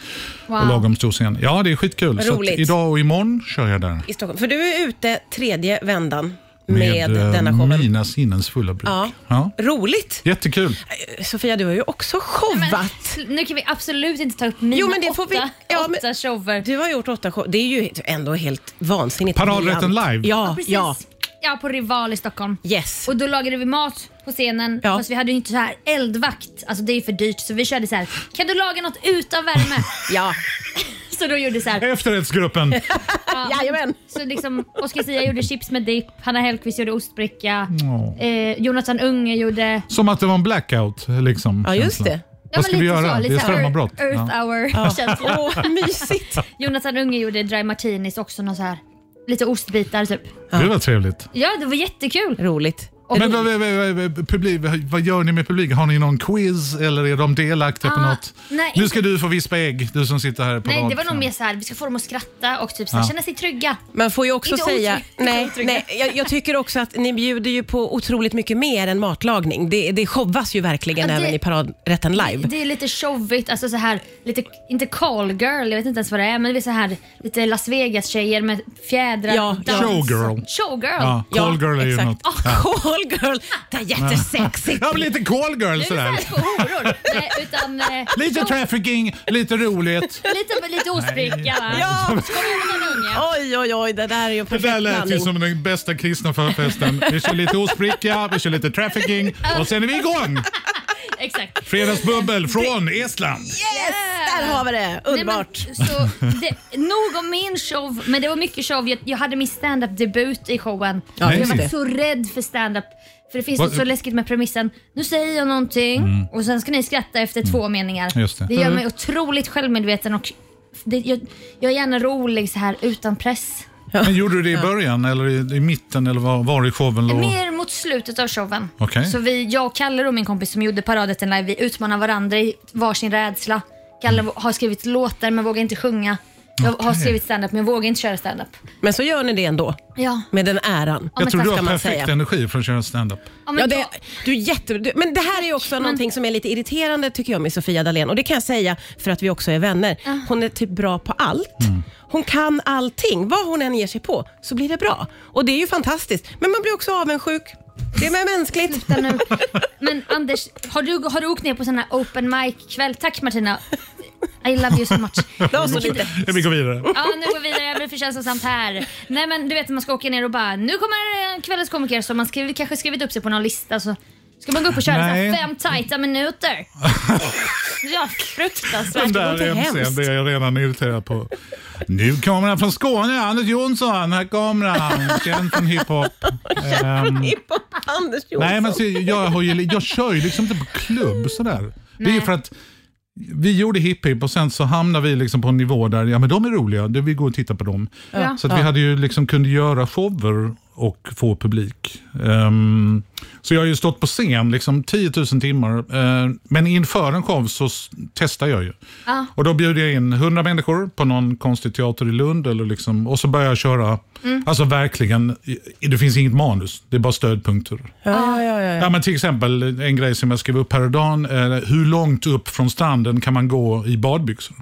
[SPEAKER 2] Och lagom stor scen. Ja, det är skitkul. Så
[SPEAKER 1] Roligt.
[SPEAKER 2] att idag och imorgon kör jag där.
[SPEAKER 1] I Stockholm. För du är ute tredje vändan med, denna showen.
[SPEAKER 2] Mina sinnens fulla bruk.
[SPEAKER 1] Ja.
[SPEAKER 2] eh, Ja.
[SPEAKER 1] Roligt!
[SPEAKER 2] Jättekul.
[SPEAKER 1] Sofia, du har ju också
[SPEAKER 3] Men,
[SPEAKER 1] showat.
[SPEAKER 3] nu kan vi absolut inte ta upp mina
[SPEAKER 1] Jo, men det
[SPEAKER 3] åtta,
[SPEAKER 1] får vi- ja, men-
[SPEAKER 3] åtta shower.
[SPEAKER 1] Du har gjort åtta shower. Det är ju ändå helt vansinnigt.
[SPEAKER 2] Paradrätten
[SPEAKER 1] briljant.
[SPEAKER 2] live.
[SPEAKER 1] Ja,
[SPEAKER 3] Precis.
[SPEAKER 1] ja.
[SPEAKER 3] ja, på Rival i Stockholm.
[SPEAKER 1] Yes.
[SPEAKER 3] Och då lagade vi mat på scenen
[SPEAKER 1] Ja.
[SPEAKER 3] fast vi hade ju inte så här eldvakt. Alltså det är ju för dyrt så vi körde så här. Kan du laga något
[SPEAKER 1] (laughs)
[SPEAKER 3] utan värme?
[SPEAKER 1] Ja.
[SPEAKER 3] så då gjorde så här.
[SPEAKER 1] (laughs)
[SPEAKER 2] Efterrättsgruppen.
[SPEAKER 1] Jajamän.
[SPEAKER 3] Så liksom, Oscar Zia gjorde chips med dipp, Hanna Hellquist gjorde ostbricka,
[SPEAKER 2] Ja.
[SPEAKER 3] eh, Jonathan Unge gjorde...
[SPEAKER 2] Som att det var en blackout. Liksom,
[SPEAKER 1] Ja, just
[SPEAKER 2] känslan.
[SPEAKER 1] det.
[SPEAKER 3] men
[SPEAKER 2] Vad ska vi
[SPEAKER 3] lite
[SPEAKER 2] göra?
[SPEAKER 3] så,
[SPEAKER 2] det är
[SPEAKER 3] lite så här
[SPEAKER 2] strömavbrott.
[SPEAKER 3] Earth
[SPEAKER 2] Ja.
[SPEAKER 3] hour-känsla.
[SPEAKER 1] Åh, (laughs) mysigt.
[SPEAKER 3] Jonathan Unge gjorde dry martinis också, någon så här, lite ostbitar typ.
[SPEAKER 2] Det var trevligt.
[SPEAKER 3] Ja, det var jättekul.
[SPEAKER 1] Roligt.
[SPEAKER 3] Och-
[SPEAKER 2] Men vad, vad, vad, vad, publik, vad gör ni med publiken? Har ni någon quiz eller är de delaktiga på
[SPEAKER 3] Ah,
[SPEAKER 2] något?
[SPEAKER 3] nej,
[SPEAKER 2] nu
[SPEAKER 3] inte-
[SPEAKER 2] ska du få vispa ägg, du som sitter här på
[SPEAKER 3] Nej,
[SPEAKER 2] rad
[SPEAKER 3] det var nog
[SPEAKER 2] fem.
[SPEAKER 3] mer så här, vi ska få dem att skratta och typ så
[SPEAKER 2] liksom?
[SPEAKER 3] här,
[SPEAKER 2] Ja.
[SPEAKER 3] känna sig trygga.
[SPEAKER 1] Man får ju också
[SPEAKER 3] Inte
[SPEAKER 1] säga...
[SPEAKER 3] otryggt, inte
[SPEAKER 1] Nej,
[SPEAKER 3] otrygga.
[SPEAKER 1] nej, jag, jag tycker också att ni bjuder ju på otroligt mycket mer än matlagning. Det, det showas ju verkligen
[SPEAKER 3] Ja, det-
[SPEAKER 1] även i paradrätten live.
[SPEAKER 3] Det är lite showigt, alltså så här, lite, inte call girl, jag vet inte ens vad det är, men det är så här lite Las Vegas-tjejer med fjädrar
[SPEAKER 1] Ja,
[SPEAKER 3] och
[SPEAKER 1] ja.
[SPEAKER 3] dans.
[SPEAKER 2] Showgirl.
[SPEAKER 3] Showgirl.
[SPEAKER 2] Ja, call girl är ju
[SPEAKER 1] exakt.
[SPEAKER 2] något.
[SPEAKER 1] Oh, call girl, det är jättesexigt.
[SPEAKER 2] Ja, men lite call girl
[SPEAKER 3] Nu är det
[SPEAKER 2] sådär.
[SPEAKER 3] inte två horor. Nej, utan, eh,
[SPEAKER 2] Lite
[SPEAKER 3] show-
[SPEAKER 2] trafficking, lite roligt.
[SPEAKER 3] lite, lite ostbricka va?
[SPEAKER 1] Ja.
[SPEAKER 3] Skål med den unge.
[SPEAKER 1] Oj, oj, oj, det där är ju en
[SPEAKER 2] Det
[SPEAKER 1] perfekt
[SPEAKER 2] där lät ju
[SPEAKER 1] blandning.
[SPEAKER 2] som den bästa kristna förfesten. Vi kör lite ostbricka, vi kör lite trafficking och sen är vi igång!
[SPEAKER 3] Exakt.
[SPEAKER 2] Fredagsbubbel från Estland.
[SPEAKER 1] Yes, där har vi det.
[SPEAKER 3] Nej, men,
[SPEAKER 1] Underbart.
[SPEAKER 3] så, det, nog om min show, men det var mycket show. Jag, jag hade min stand-up debut i showen.
[SPEAKER 1] Ja,
[SPEAKER 2] just
[SPEAKER 3] jag var
[SPEAKER 2] det.
[SPEAKER 3] så rädd för stand-up. För det finns
[SPEAKER 2] Vad- Mm.
[SPEAKER 3] något så läskigt med premissen. Nu säger jag någonting och sen ska ni skratta efter två meningar.
[SPEAKER 2] Just det. Mm.
[SPEAKER 3] gör mig otroligt självmedveten och det, jag, jag är gärna rolig så här utan press.
[SPEAKER 2] Men gjorde du det i början eller i, i mitten eller var, var i showen låg?
[SPEAKER 3] Mer mot slutet av showen.
[SPEAKER 2] Okej.
[SPEAKER 3] Så vi, jag och Kalle och min kompis som gjorde Paradrätten live, vi utmanar varandra i varsin rädsla. Kalle har skrivit låtar men vågar inte sjunga. Jag har
[SPEAKER 2] Mm. Okej.
[SPEAKER 3] skrivit stand-up men jag vågar inte köra stand-up.
[SPEAKER 1] Men så gör ni det ändå,
[SPEAKER 3] Ja.
[SPEAKER 1] med den äran.
[SPEAKER 3] men
[SPEAKER 2] Jag tror
[SPEAKER 3] vad
[SPEAKER 2] du
[SPEAKER 1] ska
[SPEAKER 2] har
[SPEAKER 1] man
[SPEAKER 2] perfekt
[SPEAKER 1] säga?
[SPEAKER 2] energi för att köra stand-up.
[SPEAKER 3] Ja, men
[SPEAKER 1] Ja, det,
[SPEAKER 3] jag- Mm.
[SPEAKER 1] du är jätte, du, men det här är ju också någonting som är lite irriterande tycker jag med Sofia Dalén. Och det kan jag säga för att vi också är vänner. Hon är typ bra på allt.
[SPEAKER 2] Mm.
[SPEAKER 1] Hon kan allting. Vad hon än ger sig på så blir det bra. Och det är ju fantastiskt. Men man blir också avundsjuk. Det är
[SPEAKER 3] (laughs)
[SPEAKER 1] mänskligt.
[SPEAKER 3] Sluta nu. Men Anders, har du, har du åkt ner på sån här open mic-kväll? Tack Martina. I love you so much.
[SPEAKER 1] La oss så lite.
[SPEAKER 2] Vi går vidare.
[SPEAKER 3] Ja, nu går vi vidare. Jag blir för känslosamt här. Nej, men du vet när man ska åka ner och bara, nu kommer eh, kvällens komiker som man skrivit, kanske skrivit upp sig på någon lista. Så ska man gå upp och köra så här
[SPEAKER 2] Nej.
[SPEAKER 3] fem tajta minuter. Ja,
[SPEAKER 2] Den
[SPEAKER 3] fruktansvärt.
[SPEAKER 1] låter
[SPEAKER 2] där
[SPEAKER 1] hemskt.
[SPEAKER 2] MC'n blir jag redan irriterad på. Nu kommer han från Skåne, Anders Jonsson. Här kommer han. Känd från hiphop. Ehm,
[SPEAKER 1] Anders
[SPEAKER 2] Nej,
[SPEAKER 1] Jonsson.
[SPEAKER 2] men så, jag, har ju, jag kör ju liksom inte på klubb sådär. Det är ju för att vi gjorde hip hip och sen så hamnade vi liksom på en nivå där ja, men de är roliga, det- vi går och tittar på dem.
[SPEAKER 3] Ja.
[SPEAKER 2] Så att vi hade ju liksom kunde göra shower och få publik. Ehm, så jag har ju stått på scen liksom 10 000 timmar. Ehm, men inför en show så s- testar jag ju.
[SPEAKER 3] Ja.
[SPEAKER 2] Och då bjuder jag in 100 människor på någon konstig teater i Lund. Eller liksom, och så börjar jag köra,
[SPEAKER 3] Mm.
[SPEAKER 2] alltså verkligen, i- det finns inget manus, det är bara stödpunkter.
[SPEAKER 1] Ja, ja, ja, ja.
[SPEAKER 2] Ja, men till exempel en grej som jag skrev upp häromdagen. Eh, hur långt upp från stranden kan man gå i badbyxor?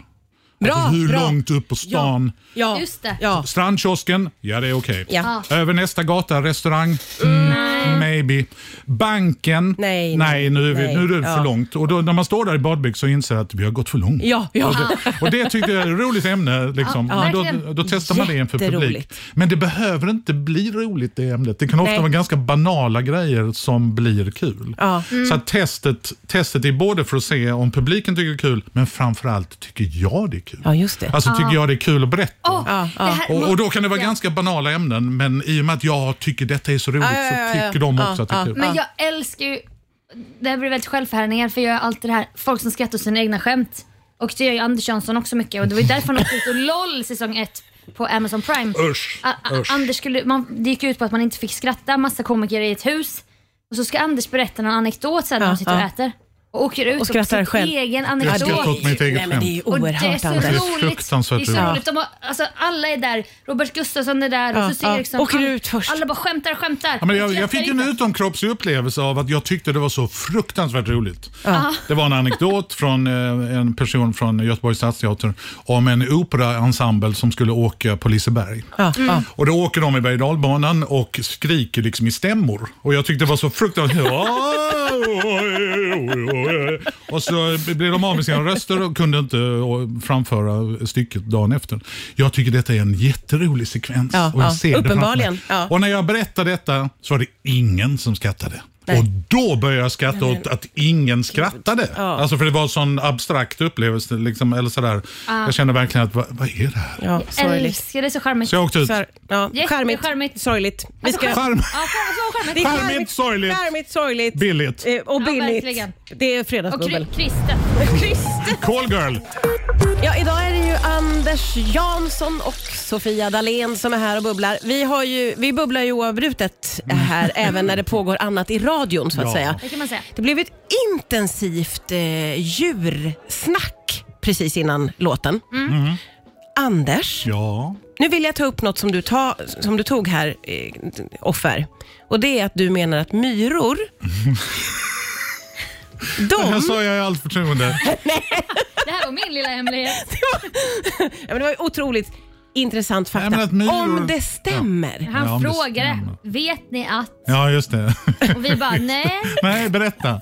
[SPEAKER 1] Bra,
[SPEAKER 2] alltså, hur
[SPEAKER 1] bra.
[SPEAKER 2] långt upp på stan?
[SPEAKER 1] Ja.
[SPEAKER 3] Just det.
[SPEAKER 1] Ja.
[SPEAKER 2] Strandkiosken? Ja, det är okej.
[SPEAKER 1] Ja.
[SPEAKER 2] Över nästa gata, restaurang? Mm, maybe. Banken?
[SPEAKER 1] Nej,
[SPEAKER 2] nej, nu är, vi,
[SPEAKER 1] nej.
[SPEAKER 2] nu är det
[SPEAKER 1] Ja.
[SPEAKER 2] för långt. Och då, när man står där i badbyxor och inser att vi har gått för långt.
[SPEAKER 1] Ja, ja.
[SPEAKER 2] Och det tycker jag är ett roligt ämne. Liksom.
[SPEAKER 3] Ja,
[SPEAKER 2] Men då,
[SPEAKER 3] verkligen.
[SPEAKER 2] då testar man det inför publik.
[SPEAKER 1] Jätteroligt.
[SPEAKER 2] Men det behöver inte bli roligt det ämnet. Det kan ofta
[SPEAKER 1] Nej.
[SPEAKER 2] vara ganska banala grejer som blir kul.
[SPEAKER 1] Ja.
[SPEAKER 2] Så att testet, testet är både för att se om publiken tycker det är kul, men framförallt tycker jag det är kul.
[SPEAKER 1] Ja, just det.
[SPEAKER 2] Alltså tycker jag det är kul att berätta.
[SPEAKER 3] Åh,
[SPEAKER 1] Ja,
[SPEAKER 3] det
[SPEAKER 1] ja.
[SPEAKER 3] här-
[SPEAKER 2] Och, och då kan det vara
[SPEAKER 3] Ja.
[SPEAKER 2] ganska banala ämnen, men i och med att jag tycker detta är så roligt
[SPEAKER 1] Ja, ja, ja,
[SPEAKER 2] så
[SPEAKER 1] ja.
[SPEAKER 2] tycker de
[SPEAKER 1] Ja,
[SPEAKER 2] också att det är
[SPEAKER 1] ja.
[SPEAKER 2] kul.
[SPEAKER 3] Men jag älskar ju, det här blir väldigt självförhärningar för jag gör alltid det här, folk som skrattar åt sina egna skämt. Och det gör ju Anders Jansson också mycket och det var ju därför han åkte ut och LOL säsong ett på Amazon Prime.
[SPEAKER 2] Usch,
[SPEAKER 3] A- a-
[SPEAKER 2] usch.
[SPEAKER 3] Anders skulle, man, det gick ju ut på att man inte fick skratta, massa komiker i ett hus. Och så ska Anders berätta någon anekdot sen när
[SPEAKER 1] Ja,
[SPEAKER 3] de sitter och
[SPEAKER 1] ja.
[SPEAKER 3] äter. Och åker ut
[SPEAKER 1] Och skrattar
[SPEAKER 3] sin
[SPEAKER 1] själv.
[SPEAKER 3] egen
[SPEAKER 2] Jag
[SPEAKER 3] anekdot.
[SPEAKER 2] skrattar åt mitt eget
[SPEAKER 1] Nej, men det är
[SPEAKER 2] skämt.
[SPEAKER 1] ju
[SPEAKER 3] Och det är
[SPEAKER 1] oerhört
[SPEAKER 3] så
[SPEAKER 1] Anders.
[SPEAKER 2] Det är
[SPEAKER 3] roligt. Det
[SPEAKER 2] fruktansvärt
[SPEAKER 3] är så
[SPEAKER 2] roligt.
[SPEAKER 3] roligt. De har, alltså, alla är där. Robert Gustafsson är där.
[SPEAKER 1] Ja,
[SPEAKER 3] och så ser
[SPEAKER 1] ja.
[SPEAKER 3] liksom,
[SPEAKER 1] Åker
[SPEAKER 3] all-
[SPEAKER 1] ut först.
[SPEAKER 3] Alla bara skämtar, skämtar.
[SPEAKER 2] Ja, men jag, jag
[SPEAKER 3] Skrattar
[SPEAKER 2] fick en
[SPEAKER 3] inte.
[SPEAKER 2] utomkroppslig upplevelse av att jag tyckte det var så fruktansvärt roligt. Det var en anekdot från eh, en person från Göteborgs stadsteater om en operaensemble som skulle åka på Liseberg.
[SPEAKER 1] Ja, ja.
[SPEAKER 2] Och då åker de i berg och dalbanan och skriker liksom i stämmor. Och jag tyckte det var så fruktansvärt...
[SPEAKER 1] (laughs)
[SPEAKER 2] och så blev de av med sina röster och kunde inte eh, framföra stycket dagen efter. Jag tycker detta är en jätterolig sekvens.
[SPEAKER 1] Ja,
[SPEAKER 2] och jag
[SPEAKER 1] ja.
[SPEAKER 2] ser det framför mig.
[SPEAKER 1] Uppenbarligen, ja.
[SPEAKER 2] Och när jag berättade detta så var det ingen som skrattade.
[SPEAKER 1] Nej.
[SPEAKER 2] Och då började jag skratta åt att ingen skrattade. Alltså för det var en sån abstrakt upplevelse. Liksom, eller sådär. Jag kände verkligen att, vad, vad är det här?
[SPEAKER 1] Ah. ja sorgligt.
[SPEAKER 3] Älskar det är så charmigt.
[SPEAKER 2] Så jag åkte ut.
[SPEAKER 1] Sar- ja,
[SPEAKER 3] Jätte- Alltså,
[SPEAKER 1] charmigt,
[SPEAKER 3] charmigt.
[SPEAKER 1] sorgligt. Vi ska...
[SPEAKER 2] Charm.
[SPEAKER 3] Ja, så charmigt.
[SPEAKER 1] Det är
[SPEAKER 2] Charmigt, sorgligt.
[SPEAKER 1] Charmigt, sorgligt.
[SPEAKER 2] Billigt.
[SPEAKER 1] Eh, Och
[SPEAKER 3] Ja,
[SPEAKER 1] billigt.
[SPEAKER 3] verkligen.
[SPEAKER 1] det är
[SPEAKER 3] Och
[SPEAKER 1] fredagsbubbel.
[SPEAKER 3] kri- kristen.
[SPEAKER 1] (laughs)
[SPEAKER 2] Call girl.
[SPEAKER 1] Ja, idag är det ju Anders Jansson och Sofia Dalén som är här och bubblar. Vi, har ju, vi bubblar ju oavbrutet här, även när det pågår annat i radion så att
[SPEAKER 2] Mm. Ja.
[SPEAKER 1] säga.
[SPEAKER 3] Det kan man säga.
[SPEAKER 1] Det blev ett intensivt eh, djursnack precis innan låten.
[SPEAKER 3] Mm.
[SPEAKER 2] Mm.
[SPEAKER 1] Anders,
[SPEAKER 2] Ja.
[SPEAKER 1] nu vill jag ta upp något som du, ta, som du tog här, eh, offer. Och det är att du menar att
[SPEAKER 2] (laughs)
[SPEAKER 1] myror,
[SPEAKER 2] Det här
[SPEAKER 1] de...
[SPEAKER 2] sa jag i allt förtroende.
[SPEAKER 3] Det här var min lilla hemlighet.
[SPEAKER 1] Ja, men det var ju otroligt intressant fakta.
[SPEAKER 2] Nej, men att myror-
[SPEAKER 1] Om det stämmer.
[SPEAKER 3] Han
[SPEAKER 2] Ja, om det
[SPEAKER 3] frågade,
[SPEAKER 2] stämmer.
[SPEAKER 3] vet ni att?
[SPEAKER 2] Ja, just det. (laughs)
[SPEAKER 3] Och vi bara, nej.
[SPEAKER 2] Nej, berätta.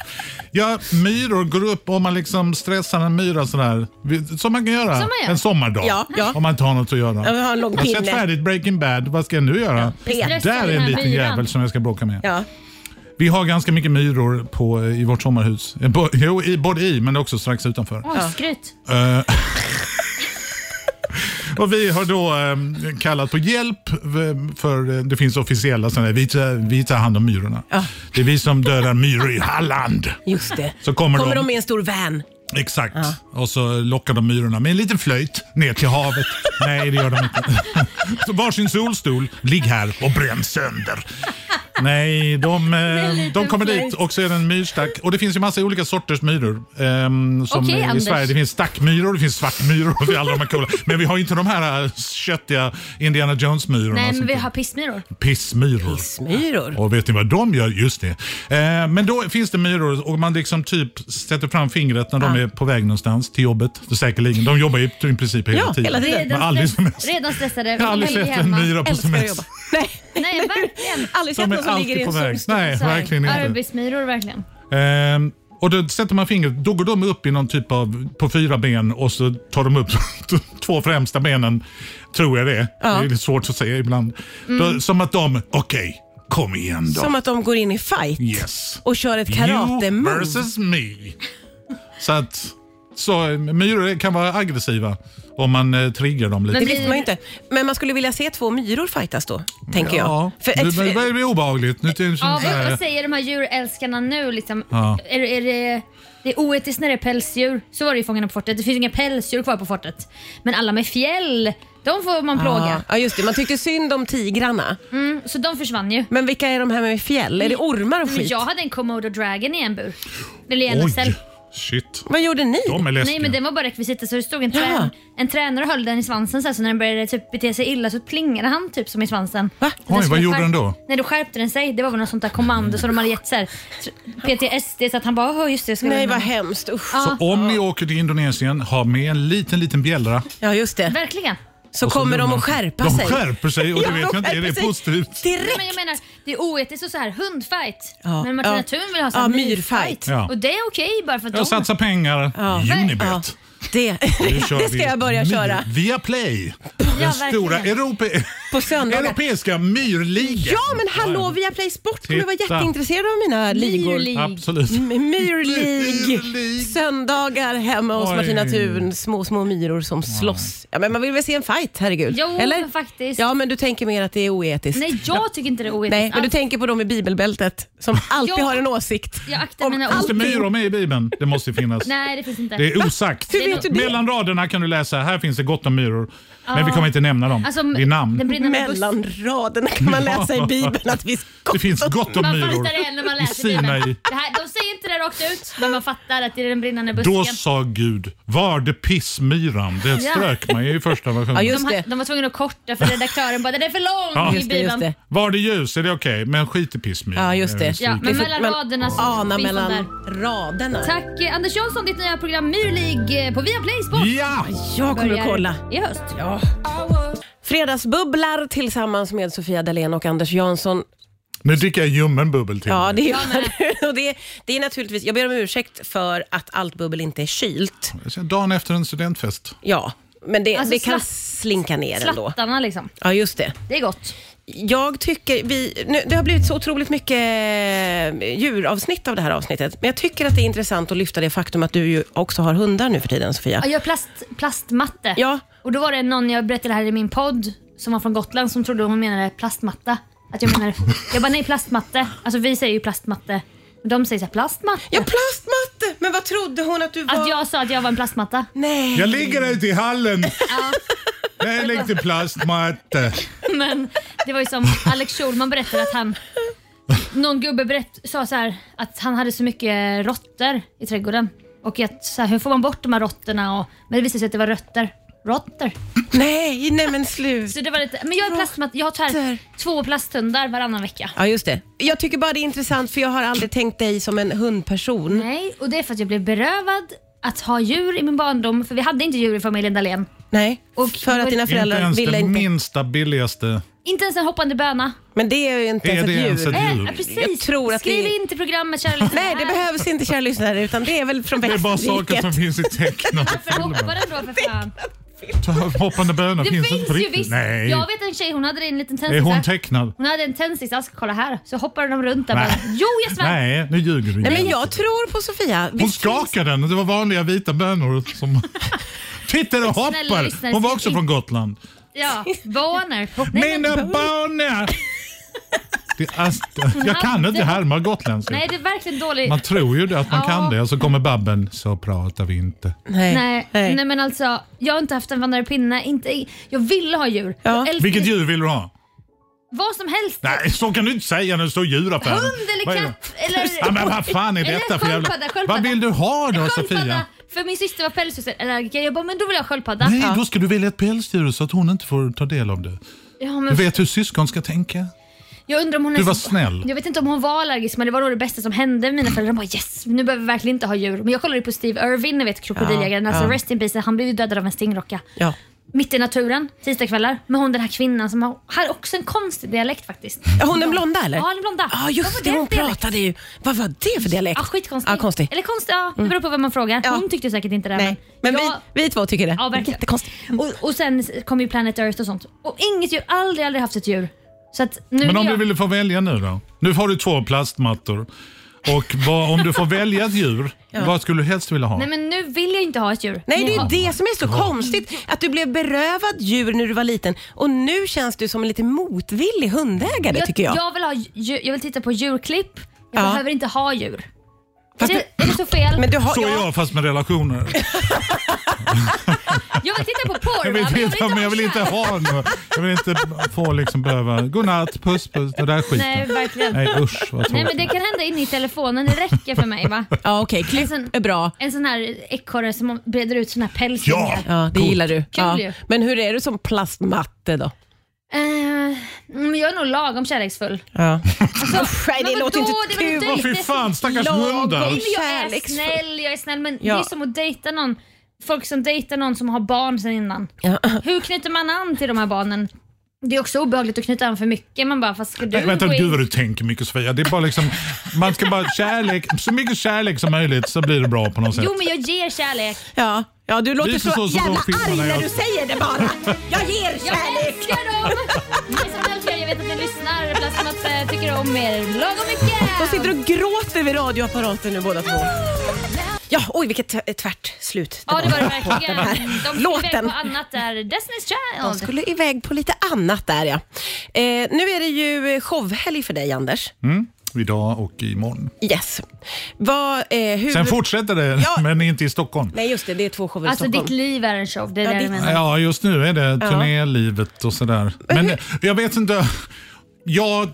[SPEAKER 2] Ja, myror går upp om man liksom stressar en myra sådär. Vi- Som man kan göra
[SPEAKER 3] Som man gör.
[SPEAKER 2] en sommardag.
[SPEAKER 1] Ja, ja.
[SPEAKER 2] Om man inte har något att göra.
[SPEAKER 1] Ja, vi har en lång
[SPEAKER 2] jag har sett
[SPEAKER 1] pinne.
[SPEAKER 2] färdigt Breaking Bad. Vad ska jag nu göra?
[SPEAKER 1] Pet.
[SPEAKER 3] Stressa
[SPEAKER 2] Där är
[SPEAKER 3] den
[SPEAKER 2] en
[SPEAKER 3] här
[SPEAKER 2] liten
[SPEAKER 3] myran.
[SPEAKER 2] jävel som jag ska bråka med.
[SPEAKER 1] Ja.
[SPEAKER 2] Vi har ganska mycket myror på, i vårt sommarhus. Eh, bo- Jo, i, både i men också strax utanför.
[SPEAKER 3] Oj, skryt.
[SPEAKER 2] Eh, Och vi har då eh, kallat på hjälp v- för eh, det finns officiella sådana här, vi tar, vi tar hand om myrorna. Det är vi som dödar myror i Halland.
[SPEAKER 1] Just det.
[SPEAKER 2] Så kommer,
[SPEAKER 1] Kommer
[SPEAKER 2] de,
[SPEAKER 1] de med en stor van?
[SPEAKER 2] Exakt. Och så lockar de myrorna med en liten flöjt ner till
[SPEAKER 3] (laughs)
[SPEAKER 2] havet. Nej, det gör de inte. (laughs) Så varsin solstol, ligg här och bränn sönder. Nej,
[SPEAKER 3] (laughs)
[SPEAKER 2] de, eh, de kommer dit och så är det en myrstack. Och det finns ju massa olika sorters myror. ehm, som
[SPEAKER 3] Okej,
[SPEAKER 2] i
[SPEAKER 3] Anders.
[SPEAKER 2] Sverige. Det finns stackmyror, det finns svartmyror och det är alla de här coola. Men vi har ju inte de här eh, köttiga Indiana Jones-myrorna.
[SPEAKER 3] Nej, men
[SPEAKER 2] som-
[SPEAKER 3] vi har pissmyror.
[SPEAKER 2] Pissmyror.
[SPEAKER 1] Smyror.
[SPEAKER 2] Och vet ni vad de gör? Just det. Eh, men då finns det myror och man liksom typ sätter fram fingret när de
[SPEAKER 1] Ja.
[SPEAKER 2] är på väg någonstans till jobbet. Så säkerligen. De jobbar ju typ i princip hela
[SPEAKER 1] Ja,
[SPEAKER 2] tiden.
[SPEAKER 1] hela tiden.
[SPEAKER 2] Men aldrig som helst.
[SPEAKER 3] Redan stressade.
[SPEAKER 2] Jag har aldrig
[SPEAKER 3] Helg
[SPEAKER 2] sett en
[SPEAKER 3] hemma.
[SPEAKER 2] myra på
[SPEAKER 1] Älskar att
[SPEAKER 2] semester.
[SPEAKER 1] jobba. Nej,
[SPEAKER 3] Nej, verkligen.
[SPEAKER 1] aldrig sett
[SPEAKER 2] De
[SPEAKER 1] någon
[SPEAKER 2] är
[SPEAKER 1] som ligger i
[SPEAKER 2] alltid på
[SPEAKER 1] en
[SPEAKER 2] väg.
[SPEAKER 1] solstol.
[SPEAKER 2] Nej,
[SPEAKER 3] Så här,
[SPEAKER 2] (laughs) verkligen inte.
[SPEAKER 3] Arbetsmyror, verkligen.
[SPEAKER 2] Ehm, och då sätter man fingret, då går de upp i någon typ av, på fyra ben och så tar de upp (laughs) de två främsta benen, tror jag det är. Det är lite svårt att säga ibland. Då, som att de, okej, kom igen då.
[SPEAKER 1] Mm. Som att de går in i fight
[SPEAKER 2] Yes.
[SPEAKER 1] och kör ett karate-move.
[SPEAKER 2] You versus me. Så att så, eh, myror kan vara aggressiva om man eh, triggar dem lite.
[SPEAKER 1] Det visste man ju inte. Men man skulle vilja se två myror fightas då, tänker
[SPEAKER 2] Ja,
[SPEAKER 1] jag. För ett,
[SPEAKER 2] nu börjar det bli obehagligt. Nu tycks
[SPEAKER 3] Ja,
[SPEAKER 2] det så
[SPEAKER 3] vad,
[SPEAKER 2] här-
[SPEAKER 3] vad säger de här djurälskarna nu? Liksom?
[SPEAKER 2] Ja.
[SPEAKER 3] Är, är det, det är oetiskt när det är pälsdjur. Så var det i Fångarna på fortet. Det finns inga pälsdjur kvar på fortet. Men alla med fjäll, de får man
[SPEAKER 1] ja.
[SPEAKER 3] plåga.
[SPEAKER 1] ja, just det. Man tyckte synd om tigrarna.
[SPEAKER 3] Mm, så de försvann ju.
[SPEAKER 1] Men vilka är de här med fjäll? Är det ormar och
[SPEAKER 3] Men
[SPEAKER 1] skit?
[SPEAKER 3] Mm. jag hade en Komodo Dragon i en bur. Eller i en
[SPEAKER 2] Oj,
[SPEAKER 3] nacell.
[SPEAKER 2] shit.
[SPEAKER 1] Vad gjorde ni?
[SPEAKER 2] De är läskiga.
[SPEAKER 3] Nej men den var bara rekvisita så det stod en,
[SPEAKER 1] Ja.
[SPEAKER 3] trän, en tränare och höll den i svansen så, här, så när den började typ bete sig illa så plingade han typ som i svansen.
[SPEAKER 1] Va?
[SPEAKER 3] Den
[SPEAKER 2] Oj, vad
[SPEAKER 3] skulle
[SPEAKER 2] gjorde
[SPEAKER 3] skärp-
[SPEAKER 2] den då?
[SPEAKER 3] Nej då skärpte den sig. Det var väl något sånt där kommando som de hade gett så här, PTSD så att han bara "Åh, just det jag ska
[SPEAKER 1] Nej,
[SPEAKER 3] lämna
[SPEAKER 1] vad
[SPEAKER 3] den."
[SPEAKER 1] hemskt. Usch.
[SPEAKER 3] Ja.
[SPEAKER 2] Om ni åker till Indonesien, ha med en liten, liten bjällra.
[SPEAKER 1] Ja, just det.
[SPEAKER 3] Verkligen.
[SPEAKER 1] Så
[SPEAKER 2] Och så
[SPEAKER 1] kommer de
[SPEAKER 2] lugnar-
[SPEAKER 1] att skärpa
[SPEAKER 2] de
[SPEAKER 1] sig.
[SPEAKER 2] skärper sig och det
[SPEAKER 1] Ja,
[SPEAKER 2] vet
[SPEAKER 1] de
[SPEAKER 2] jag inte, är det
[SPEAKER 1] skärper sig
[SPEAKER 2] positivt?
[SPEAKER 3] Nej,
[SPEAKER 1] Direkt.
[SPEAKER 3] men jag menar, det är oetiskt och så här hundfight.
[SPEAKER 1] Ja.
[SPEAKER 3] Men Martina
[SPEAKER 1] Ja.
[SPEAKER 3] Thun vill ha så här
[SPEAKER 1] Ja,
[SPEAKER 3] myrfight.
[SPEAKER 1] myrfight.
[SPEAKER 2] Ja.
[SPEAKER 3] Och det är okej bara för att de...
[SPEAKER 2] Jag satsar pengar.
[SPEAKER 1] Ja.
[SPEAKER 2] Unibet.
[SPEAKER 1] Ja, det,
[SPEAKER 2] Nu
[SPEAKER 1] (laughs)
[SPEAKER 2] kör
[SPEAKER 1] det ska
[SPEAKER 2] vi
[SPEAKER 1] jag börja
[SPEAKER 2] myr-
[SPEAKER 1] köra.
[SPEAKER 2] Via Play.
[SPEAKER 3] Ja,
[SPEAKER 2] Den stora
[SPEAKER 3] verkligen.
[SPEAKER 2] Europe-
[SPEAKER 1] På söndagar.
[SPEAKER 2] europeiska myrligan.
[SPEAKER 1] Ja, men hallå, via Play Sport kommer vara
[SPEAKER 2] Titta.
[SPEAKER 1] jätteintresserade av mina ligor.
[SPEAKER 3] Myrlig.
[SPEAKER 2] Absolut.
[SPEAKER 1] M- Myr League.
[SPEAKER 2] League.
[SPEAKER 1] Söndagar hemma hos
[SPEAKER 2] Oj.
[SPEAKER 1] Martina Thun. Små, små myror som slåss. Ja, men man vill väl se en fight, herregud?
[SPEAKER 3] Jo, men faktiskt.
[SPEAKER 1] Ja, men du tänker mer att det är oetiskt. Nej,
[SPEAKER 3] Nej, jag tycker inte det är oetiskt
[SPEAKER 1] men du
[SPEAKER 3] alls.
[SPEAKER 1] tänker på dem i bibelbältet som alltid
[SPEAKER 3] Ja.
[SPEAKER 1] har en åsikt.
[SPEAKER 3] Jag aktar
[SPEAKER 1] om
[SPEAKER 3] mina ord.
[SPEAKER 2] Finns det
[SPEAKER 1] allting.
[SPEAKER 2] myror med i Bibeln? Det måste ju finnas.
[SPEAKER 3] Nej, det finns inte.
[SPEAKER 2] Det är osagt.
[SPEAKER 1] Hur vet du det?
[SPEAKER 2] Mellan raderna kan du läsa, här finns det gott om myror. Men vi kommer inte nämna dem
[SPEAKER 3] Alltså,
[SPEAKER 2] vid namn.
[SPEAKER 3] Den brinnande bussen.
[SPEAKER 1] Mellan raderna kan man läsa i bibeln att vi ska...
[SPEAKER 2] Det finns gott om
[SPEAKER 3] Man
[SPEAKER 2] myror.
[SPEAKER 3] fattar det när man
[SPEAKER 2] I
[SPEAKER 3] läser
[SPEAKER 2] Sinai.
[SPEAKER 3] Bibeln. Det här, de säger inte det rakt ut, men man fattar att det är den brinnande busken.
[SPEAKER 2] Då sa Gud, var det pissmyran? Det strök man ju i första
[SPEAKER 1] Ja,
[SPEAKER 2] versionen.
[SPEAKER 1] just
[SPEAKER 3] de, ha,
[SPEAKER 1] det.
[SPEAKER 3] de var tvungna att korta för redaktören bara “den är för lång”
[SPEAKER 2] Ja.
[SPEAKER 3] i
[SPEAKER 1] Just det, just
[SPEAKER 3] Bibeln.
[SPEAKER 1] det.
[SPEAKER 2] Var det ljus är det okej, men skit i pissmyran.
[SPEAKER 1] Ja, just det.
[SPEAKER 3] Ja,
[SPEAKER 1] Det är
[SPEAKER 3] men
[SPEAKER 1] för-
[SPEAKER 3] mellan
[SPEAKER 1] man
[SPEAKER 3] raderna så
[SPEAKER 1] Ana
[SPEAKER 3] finns de där.
[SPEAKER 1] mellan raderna.
[SPEAKER 3] Tack eh, Anders Jansson, ditt nya program Myrlig eh, på Viaplay Sport.
[SPEAKER 2] Ja!
[SPEAKER 1] Jag kommer att kolla.
[SPEAKER 3] I höst.
[SPEAKER 1] Ja. Fredagsbubblar tillsammans med Sofia Dalén och Anders Jansson.
[SPEAKER 2] Nu dricker jag ljummen bubbel till.
[SPEAKER 1] Ja, det är, (laughs) och det, är- det är naturligtvis, jag ber om ursäkt för att allt bubbel inte är kylt.
[SPEAKER 2] Dagen efter en studentfest.
[SPEAKER 1] Ja, men det,
[SPEAKER 3] Alltså
[SPEAKER 1] det kan
[SPEAKER 3] slatt-
[SPEAKER 1] slinka ner ändå.
[SPEAKER 3] Slattarna liksom.
[SPEAKER 1] Ja, just det.
[SPEAKER 3] Det är gott.
[SPEAKER 1] Jag tycker vi, nu, det har blivit så otroligt mycket eh, djuravsnitt av det här avsnittet, men jag tycker att det är intressant att lyfta det faktum att du ju också har hundar nu för tiden, Sofia.
[SPEAKER 3] Jag gör plast, plastmatte.
[SPEAKER 1] Ja.
[SPEAKER 3] Och då var det någon, jag berättade det här i min podd, som var från Gotland som trodde hon menade plastmatta. Att jag menar, jag bara nej plastmatte. Alltså vi säger ju plastmatte. De säger såhär plastmatte.
[SPEAKER 1] Ja, plastmatte! Men vad trodde hon att du var?
[SPEAKER 3] Att jag sa att jag var en plastmatta.
[SPEAKER 1] Nej.
[SPEAKER 2] Jag ligger ute i hallen.
[SPEAKER 3] Ja,
[SPEAKER 2] Jag är lite plastmatte.
[SPEAKER 3] (laughs) men det var ju som Alex Schulman berättade att han någon gubbe berätt, sa så här att han hade så mycket råttor i trädgården. Och att, så här, hur får man bort de här råttorna? Och, men det visade sig att det var rötter. Råttor.
[SPEAKER 1] Nej, nej men slut.
[SPEAKER 3] Så det var lite, men jag är plastmatta. Jag har
[SPEAKER 1] Råttor.
[SPEAKER 3] tyvärr två plasthundar varannan vecka.
[SPEAKER 1] Ja, just det. Jag tycker bara det är intressant för jag har aldrig tänkt dig som en hundperson.
[SPEAKER 3] Nej, och det är för att jag blev berövad att ha djur i min barndom. För vi hade inte djur i familjen Dahlén.
[SPEAKER 1] Nej,
[SPEAKER 3] Och-
[SPEAKER 1] för att dina
[SPEAKER 2] Inte
[SPEAKER 1] föräldrar
[SPEAKER 2] ens
[SPEAKER 1] ville
[SPEAKER 2] den
[SPEAKER 1] inte.
[SPEAKER 2] minsta billigaste.
[SPEAKER 3] Inte ens en hoppande böna.
[SPEAKER 1] Men det är ju inte
[SPEAKER 2] Är
[SPEAKER 1] ens
[SPEAKER 2] det
[SPEAKER 1] ett
[SPEAKER 2] ens
[SPEAKER 1] djur.
[SPEAKER 2] ett
[SPEAKER 3] Äh,
[SPEAKER 2] Djur.
[SPEAKER 3] ja, precis.
[SPEAKER 1] Jag tror att
[SPEAKER 3] Skriv
[SPEAKER 1] det är-
[SPEAKER 3] in till programmet kära
[SPEAKER 1] Nej, det behövs inte kära lyssnare utan det är väl från
[SPEAKER 2] Det är bara saker
[SPEAKER 1] Västerriket.
[SPEAKER 2] som finns i tecknade
[SPEAKER 3] (laughs) Varför hoppar
[SPEAKER 2] filmer.
[SPEAKER 3] den då för fan?
[SPEAKER 2] Hoppande bönor
[SPEAKER 3] Det
[SPEAKER 2] finns,
[SPEAKER 3] finns,
[SPEAKER 2] inte på
[SPEAKER 3] ju
[SPEAKER 2] riktigt.
[SPEAKER 3] visst.
[SPEAKER 2] Nej.
[SPEAKER 3] Jag vet en tjej, hon hade en liten
[SPEAKER 2] Är hon
[SPEAKER 3] tändsticksask.
[SPEAKER 2] tecknad?
[SPEAKER 3] Hon hade en tändsticksask, kolla här. Så hoppade de runt där.
[SPEAKER 2] Nej.
[SPEAKER 3] bara. Jo, jag svär.
[SPEAKER 2] Nej, nu ljuger du
[SPEAKER 1] Nej, men
[SPEAKER 2] igen.
[SPEAKER 1] jag tror på Sofia.
[SPEAKER 2] Hon
[SPEAKER 1] Visst finns-
[SPEAKER 2] skakade den och det var vanliga vita bönor
[SPEAKER 3] (laughs)
[SPEAKER 2] som... Titta, den hoppar!
[SPEAKER 3] lyssnare,
[SPEAKER 2] Hon var
[SPEAKER 3] skriv
[SPEAKER 2] också
[SPEAKER 3] in.
[SPEAKER 2] från Gotland. (laughs)
[SPEAKER 3] (laughs) Ja, Boner. Nej, men-
[SPEAKER 2] Mina bönor! Det, är ast- jag kan inte härma gotländska.
[SPEAKER 3] Nej, det är verkligen dåligt.
[SPEAKER 2] Man tror ju det, att man
[SPEAKER 3] Ja.
[SPEAKER 2] kan det och så kommer babben, så pratar vi inte.
[SPEAKER 1] Nej.
[SPEAKER 3] Nej, nej. men alltså jag har inte haft en vandrande pinne. Inte, jag vill ha djur.
[SPEAKER 1] Ja.
[SPEAKER 3] Jag älskar
[SPEAKER 2] Vilket
[SPEAKER 3] det.
[SPEAKER 2] djur vill du ha?
[SPEAKER 3] Vad som helst.
[SPEAKER 2] Nej, så kan du inte säga när det står djuraffär.
[SPEAKER 3] Hund eller
[SPEAKER 2] Vad är det?
[SPEAKER 3] katt eller...
[SPEAKER 2] Ja, men vad fan är
[SPEAKER 3] Eller
[SPEAKER 2] detta för jävla...
[SPEAKER 3] sköldpadda, sköldpadda.
[SPEAKER 2] Vad vill du ha då Sofia?
[SPEAKER 3] Sköldpadda. För min syster var pälsdjursallergiker. Jag bara, men då vill jag ha sköldpadda.
[SPEAKER 2] Nej, då ska du välja ett pälsdjur så att hon inte får ta del av det.
[SPEAKER 3] Ja,
[SPEAKER 2] Du
[SPEAKER 3] men
[SPEAKER 2] vet hur syskon ska tänka.
[SPEAKER 3] jag undrar om hon
[SPEAKER 2] Du
[SPEAKER 3] är
[SPEAKER 2] var
[SPEAKER 3] så-
[SPEAKER 2] snäll.
[SPEAKER 3] Jag vet inte om hon var allergisk men det var då det bästa som hände. Mina föräldrar bara yes, nu behöver vi verkligen inte ha djur. Men jag kollade ju på Steve Irwin, ni vet krokodiljägaren.
[SPEAKER 1] Ja,
[SPEAKER 3] alltså
[SPEAKER 1] ja.
[SPEAKER 3] rest in peace, han blev ju dödad av en stingrocka.
[SPEAKER 1] Ja.
[SPEAKER 3] Mitt i naturen, tisdagskvällar, med hon den här kvinnan som har, har också en konstig dialekt faktiskt.
[SPEAKER 1] Är Hon den blonda eller?
[SPEAKER 3] Ja, den blonda.
[SPEAKER 1] Ja,
[SPEAKER 3] Vad var
[SPEAKER 1] just det.
[SPEAKER 3] den
[SPEAKER 1] Hon
[SPEAKER 3] dialekten?
[SPEAKER 1] pratade ju. Vad var det för dialekt?
[SPEAKER 3] Ja, skitkonstig.
[SPEAKER 1] Ja, konstig. Mm.
[SPEAKER 3] Eller konstig, ja. Det beror på vem man frågar.
[SPEAKER 1] Ja.
[SPEAKER 3] Hon tyckte säkert inte det.
[SPEAKER 1] Nej, men
[SPEAKER 3] jag,
[SPEAKER 1] vi, Mm. vi två tycker det.
[SPEAKER 3] Ja, verkligen.
[SPEAKER 1] Jättekonstigt.
[SPEAKER 3] Och, och sen kom ju Planet Earth och sånt. Och inget djur, aldrig, aldrig haft ett djur. Så att nu
[SPEAKER 2] Men om
[SPEAKER 3] jag,
[SPEAKER 2] du ville få välja nu då? Nu har du två plastmattor. Och vad, om du får välja ett djur, vad skulle du helst vilja ha?
[SPEAKER 3] Nej men nu vill jag inte ha ett djur.
[SPEAKER 1] Nej, det är
[SPEAKER 3] Ja.
[SPEAKER 1] ju det som är så konstigt. Att du blev berövad djur när du var liten och nu känns du som en lite motvillig hundägare tycker jag.
[SPEAKER 3] Jag vill, ha, djur- jag vill titta på djurklipp. Jag
[SPEAKER 1] Ja.
[SPEAKER 3] behöver inte ha djur.
[SPEAKER 1] Fast
[SPEAKER 3] är, det, är det så fel?
[SPEAKER 1] Men du har,
[SPEAKER 2] Så är
[SPEAKER 1] ja,
[SPEAKER 2] jag fast med
[SPEAKER 3] (laughs)
[SPEAKER 2] relationer.
[SPEAKER 3] Jag vill titta på porr
[SPEAKER 2] Jag vill,
[SPEAKER 3] va?
[SPEAKER 2] inte, men jag vill inte
[SPEAKER 3] kött.
[SPEAKER 2] ha något. Jag vill inte få liksom behöva godnatt, puss, puss, den där skiten.
[SPEAKER 3] Nej
[SPEAKER 2] Nej,
[SPEAKER 3] verkligen. Nej.
[SPEAKER 2] usch vad
[SPEAKER 3] men
[SPEAKER 2] tråkigt.
[SPEAKER 3] det kan hända inne i telefonen. Det räcker för mig va?
[SPEAKER 1] ja okej, klipp
[SPEAKER 3] Sen-
[SPEAKER 1] är bra.
[SPEAKER 3] En sån här ekorre som breder ut såna här
[SPEAKER 2] Ja!
[SPEAKER 3] pälsringar.
[SPEAKER 1] Ja, det gillar du. Ja.
[SPEAKER 3] ju.
[SPEAKER 1] Men hur är du som plastmatte då?
[SPEAKER 3] Eh, men jag är nog lagom kärleksfull.
[SPEAKER 1] Ja.
[SPEAKER 3] Alltså,
[SPEAKER 1] nej, det
[SPEAKER 3] men
[SPEAKER 1] låter
[SPEAKER 3] vadå?
[SPEAKER 1] inte
[SPEAKER 3] Det var
[SPEAKER 1] kul.
[SPEAKER 3] inte
[SPEAKER 2] Åh, fy
[SPEAKER 3] riktigt-
[SPEAKER 2] fan, stackars hundar.
[SPEAKER 3] Nej, men jag är
[SPEAKER 1] Kärleksfull.
[SPEAKER 3] snäll, jag är snäll. Men
[SPEAKER 1] Ja.
[SPEAKER 3] det är som att dejta någon. Folk som dejtar någon som har barn sen innan.
[SPEAKER 1] Ja.
[SPEAKER 3] Hur knyter man an till de här barnen? Det är också obehagligt att knyta an för mycket. Man bara, fast ska du
[SPEAKER 2] Nej, vänta,
[SPEAKER 3] gå in?
[SPEAKER 2] gud vad du tänker mycket Sofia. Det är bara liksom, man ska bara kärlek, så mycket kärlek som möjligt så blir det bra på något sätt.
[SPEAKER 3] Jo, men jag ger kärlek.
[SPEAKER 1] Ja. ja, du låter
[SPEAKER 2] Lite
[SPEAKER 1] så,
[SPEAKER 2] så som de
[SPEAKER 1] jävla arg
[SPEAKER 2] filmerna
[SPEAKER 1] när
[SPEAKER 2] jag-
[SPEAKER 1] du säger det bara. Jag ger
[SPEAKER 3] Jag
[SPEAKER 1] kärlek!
[SPEAKER 3] älskar dem! Ni som älskar, jag vet att ni lyssnar. Plasmat eh, tycker om er lagom mycket.
[SPEAKER 1] De sitter och gråter vid radioapparaten nu båda två. Ja, oj vilket t- eh, tvärt slut
[SPEAKER 3] Ja, det var det
[SPEAKER 1] på
[SPEAKER 3] verkligen.
[SPEAKER 1] den här
[SPEAKER 3] De skulle iväg
[SPEAKER 1] låten.
[SPEAKER 3] på annat där. Destiny's
[SPEAKER 1] De
[SPEAKER 3] Child.
[SPEAKER 1] skulle iväg på lite annat där ja. Eh, nu är det ju eh, showhelg för dig Anders.
[SPEAKER 2] Mm. Idag och imorgon.
[SPEAKER 1] Yes. Vad, eh, hur...
[SPEAKER 2] Sen fortsätter det,
[SPEAKER 1] Ja.
[SPEAKER 2] (laughs) men inte i Stockholm.
[SPEAKER 1] Nej just det, det är två shower i
[SPEAKER 3] Alltså,
[SPEAKER 1] Stockholm.
[SPEAKER 3] ditt liv är en show. Det är
[SPEAKER 1] Ja,
[SPEAKER 3] det
[SPEAKER 1] ditt-
[SPEAKER 3] jag menar.
[SPEAKER 2] Ja, just nu är det
[SPEAKER 1] Ja.
[SPEAKER 2] turnélivet och sådär. Men eh, jag vet inte. Jag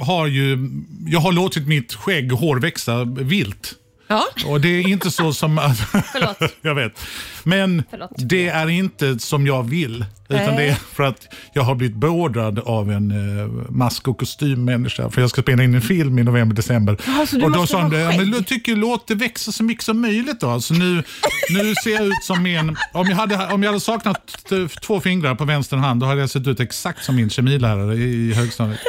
[SPEAKER 2] har ju jag har låtit mitt skägg och hår växa vilt.
[SPEAKER 1] Ja.
[SPEAKER 2] Och det är inte så som... Att,
[SPEAKER 3] Förlåt.
[SPEAKER 2] (laughs) jag vet. Men
[SPEAKER 3] Förlåt.
[SPEAKER 2] det är inte som jag vill. Utan
[SPEAKER 1] Nej.
[SPEAKER 2] det är för att jag har blivit beordrad av en eh, mask och kostymmänniska. För jag ska spela in en film i november, december.
[SPEAKER 1] Jaha, så du
[SPEAKER 2] och då
[SPEAKER 1] måste
[SPEAKER 2] sa
[SPEAKER 1] ha
[SPEAKER 2] de det, "Ja,
[SPEAKER 1] skägg."
[SPEAKER 2] men jag tycker låt det växa så mycket som möjligt då. Alltså nu, nu ser jag ut som en... Om jag, hade, om jag hade saknat eh, två fingrar på vänster hand då hade jag sett ut exakt som min kemilärare i högstadiet.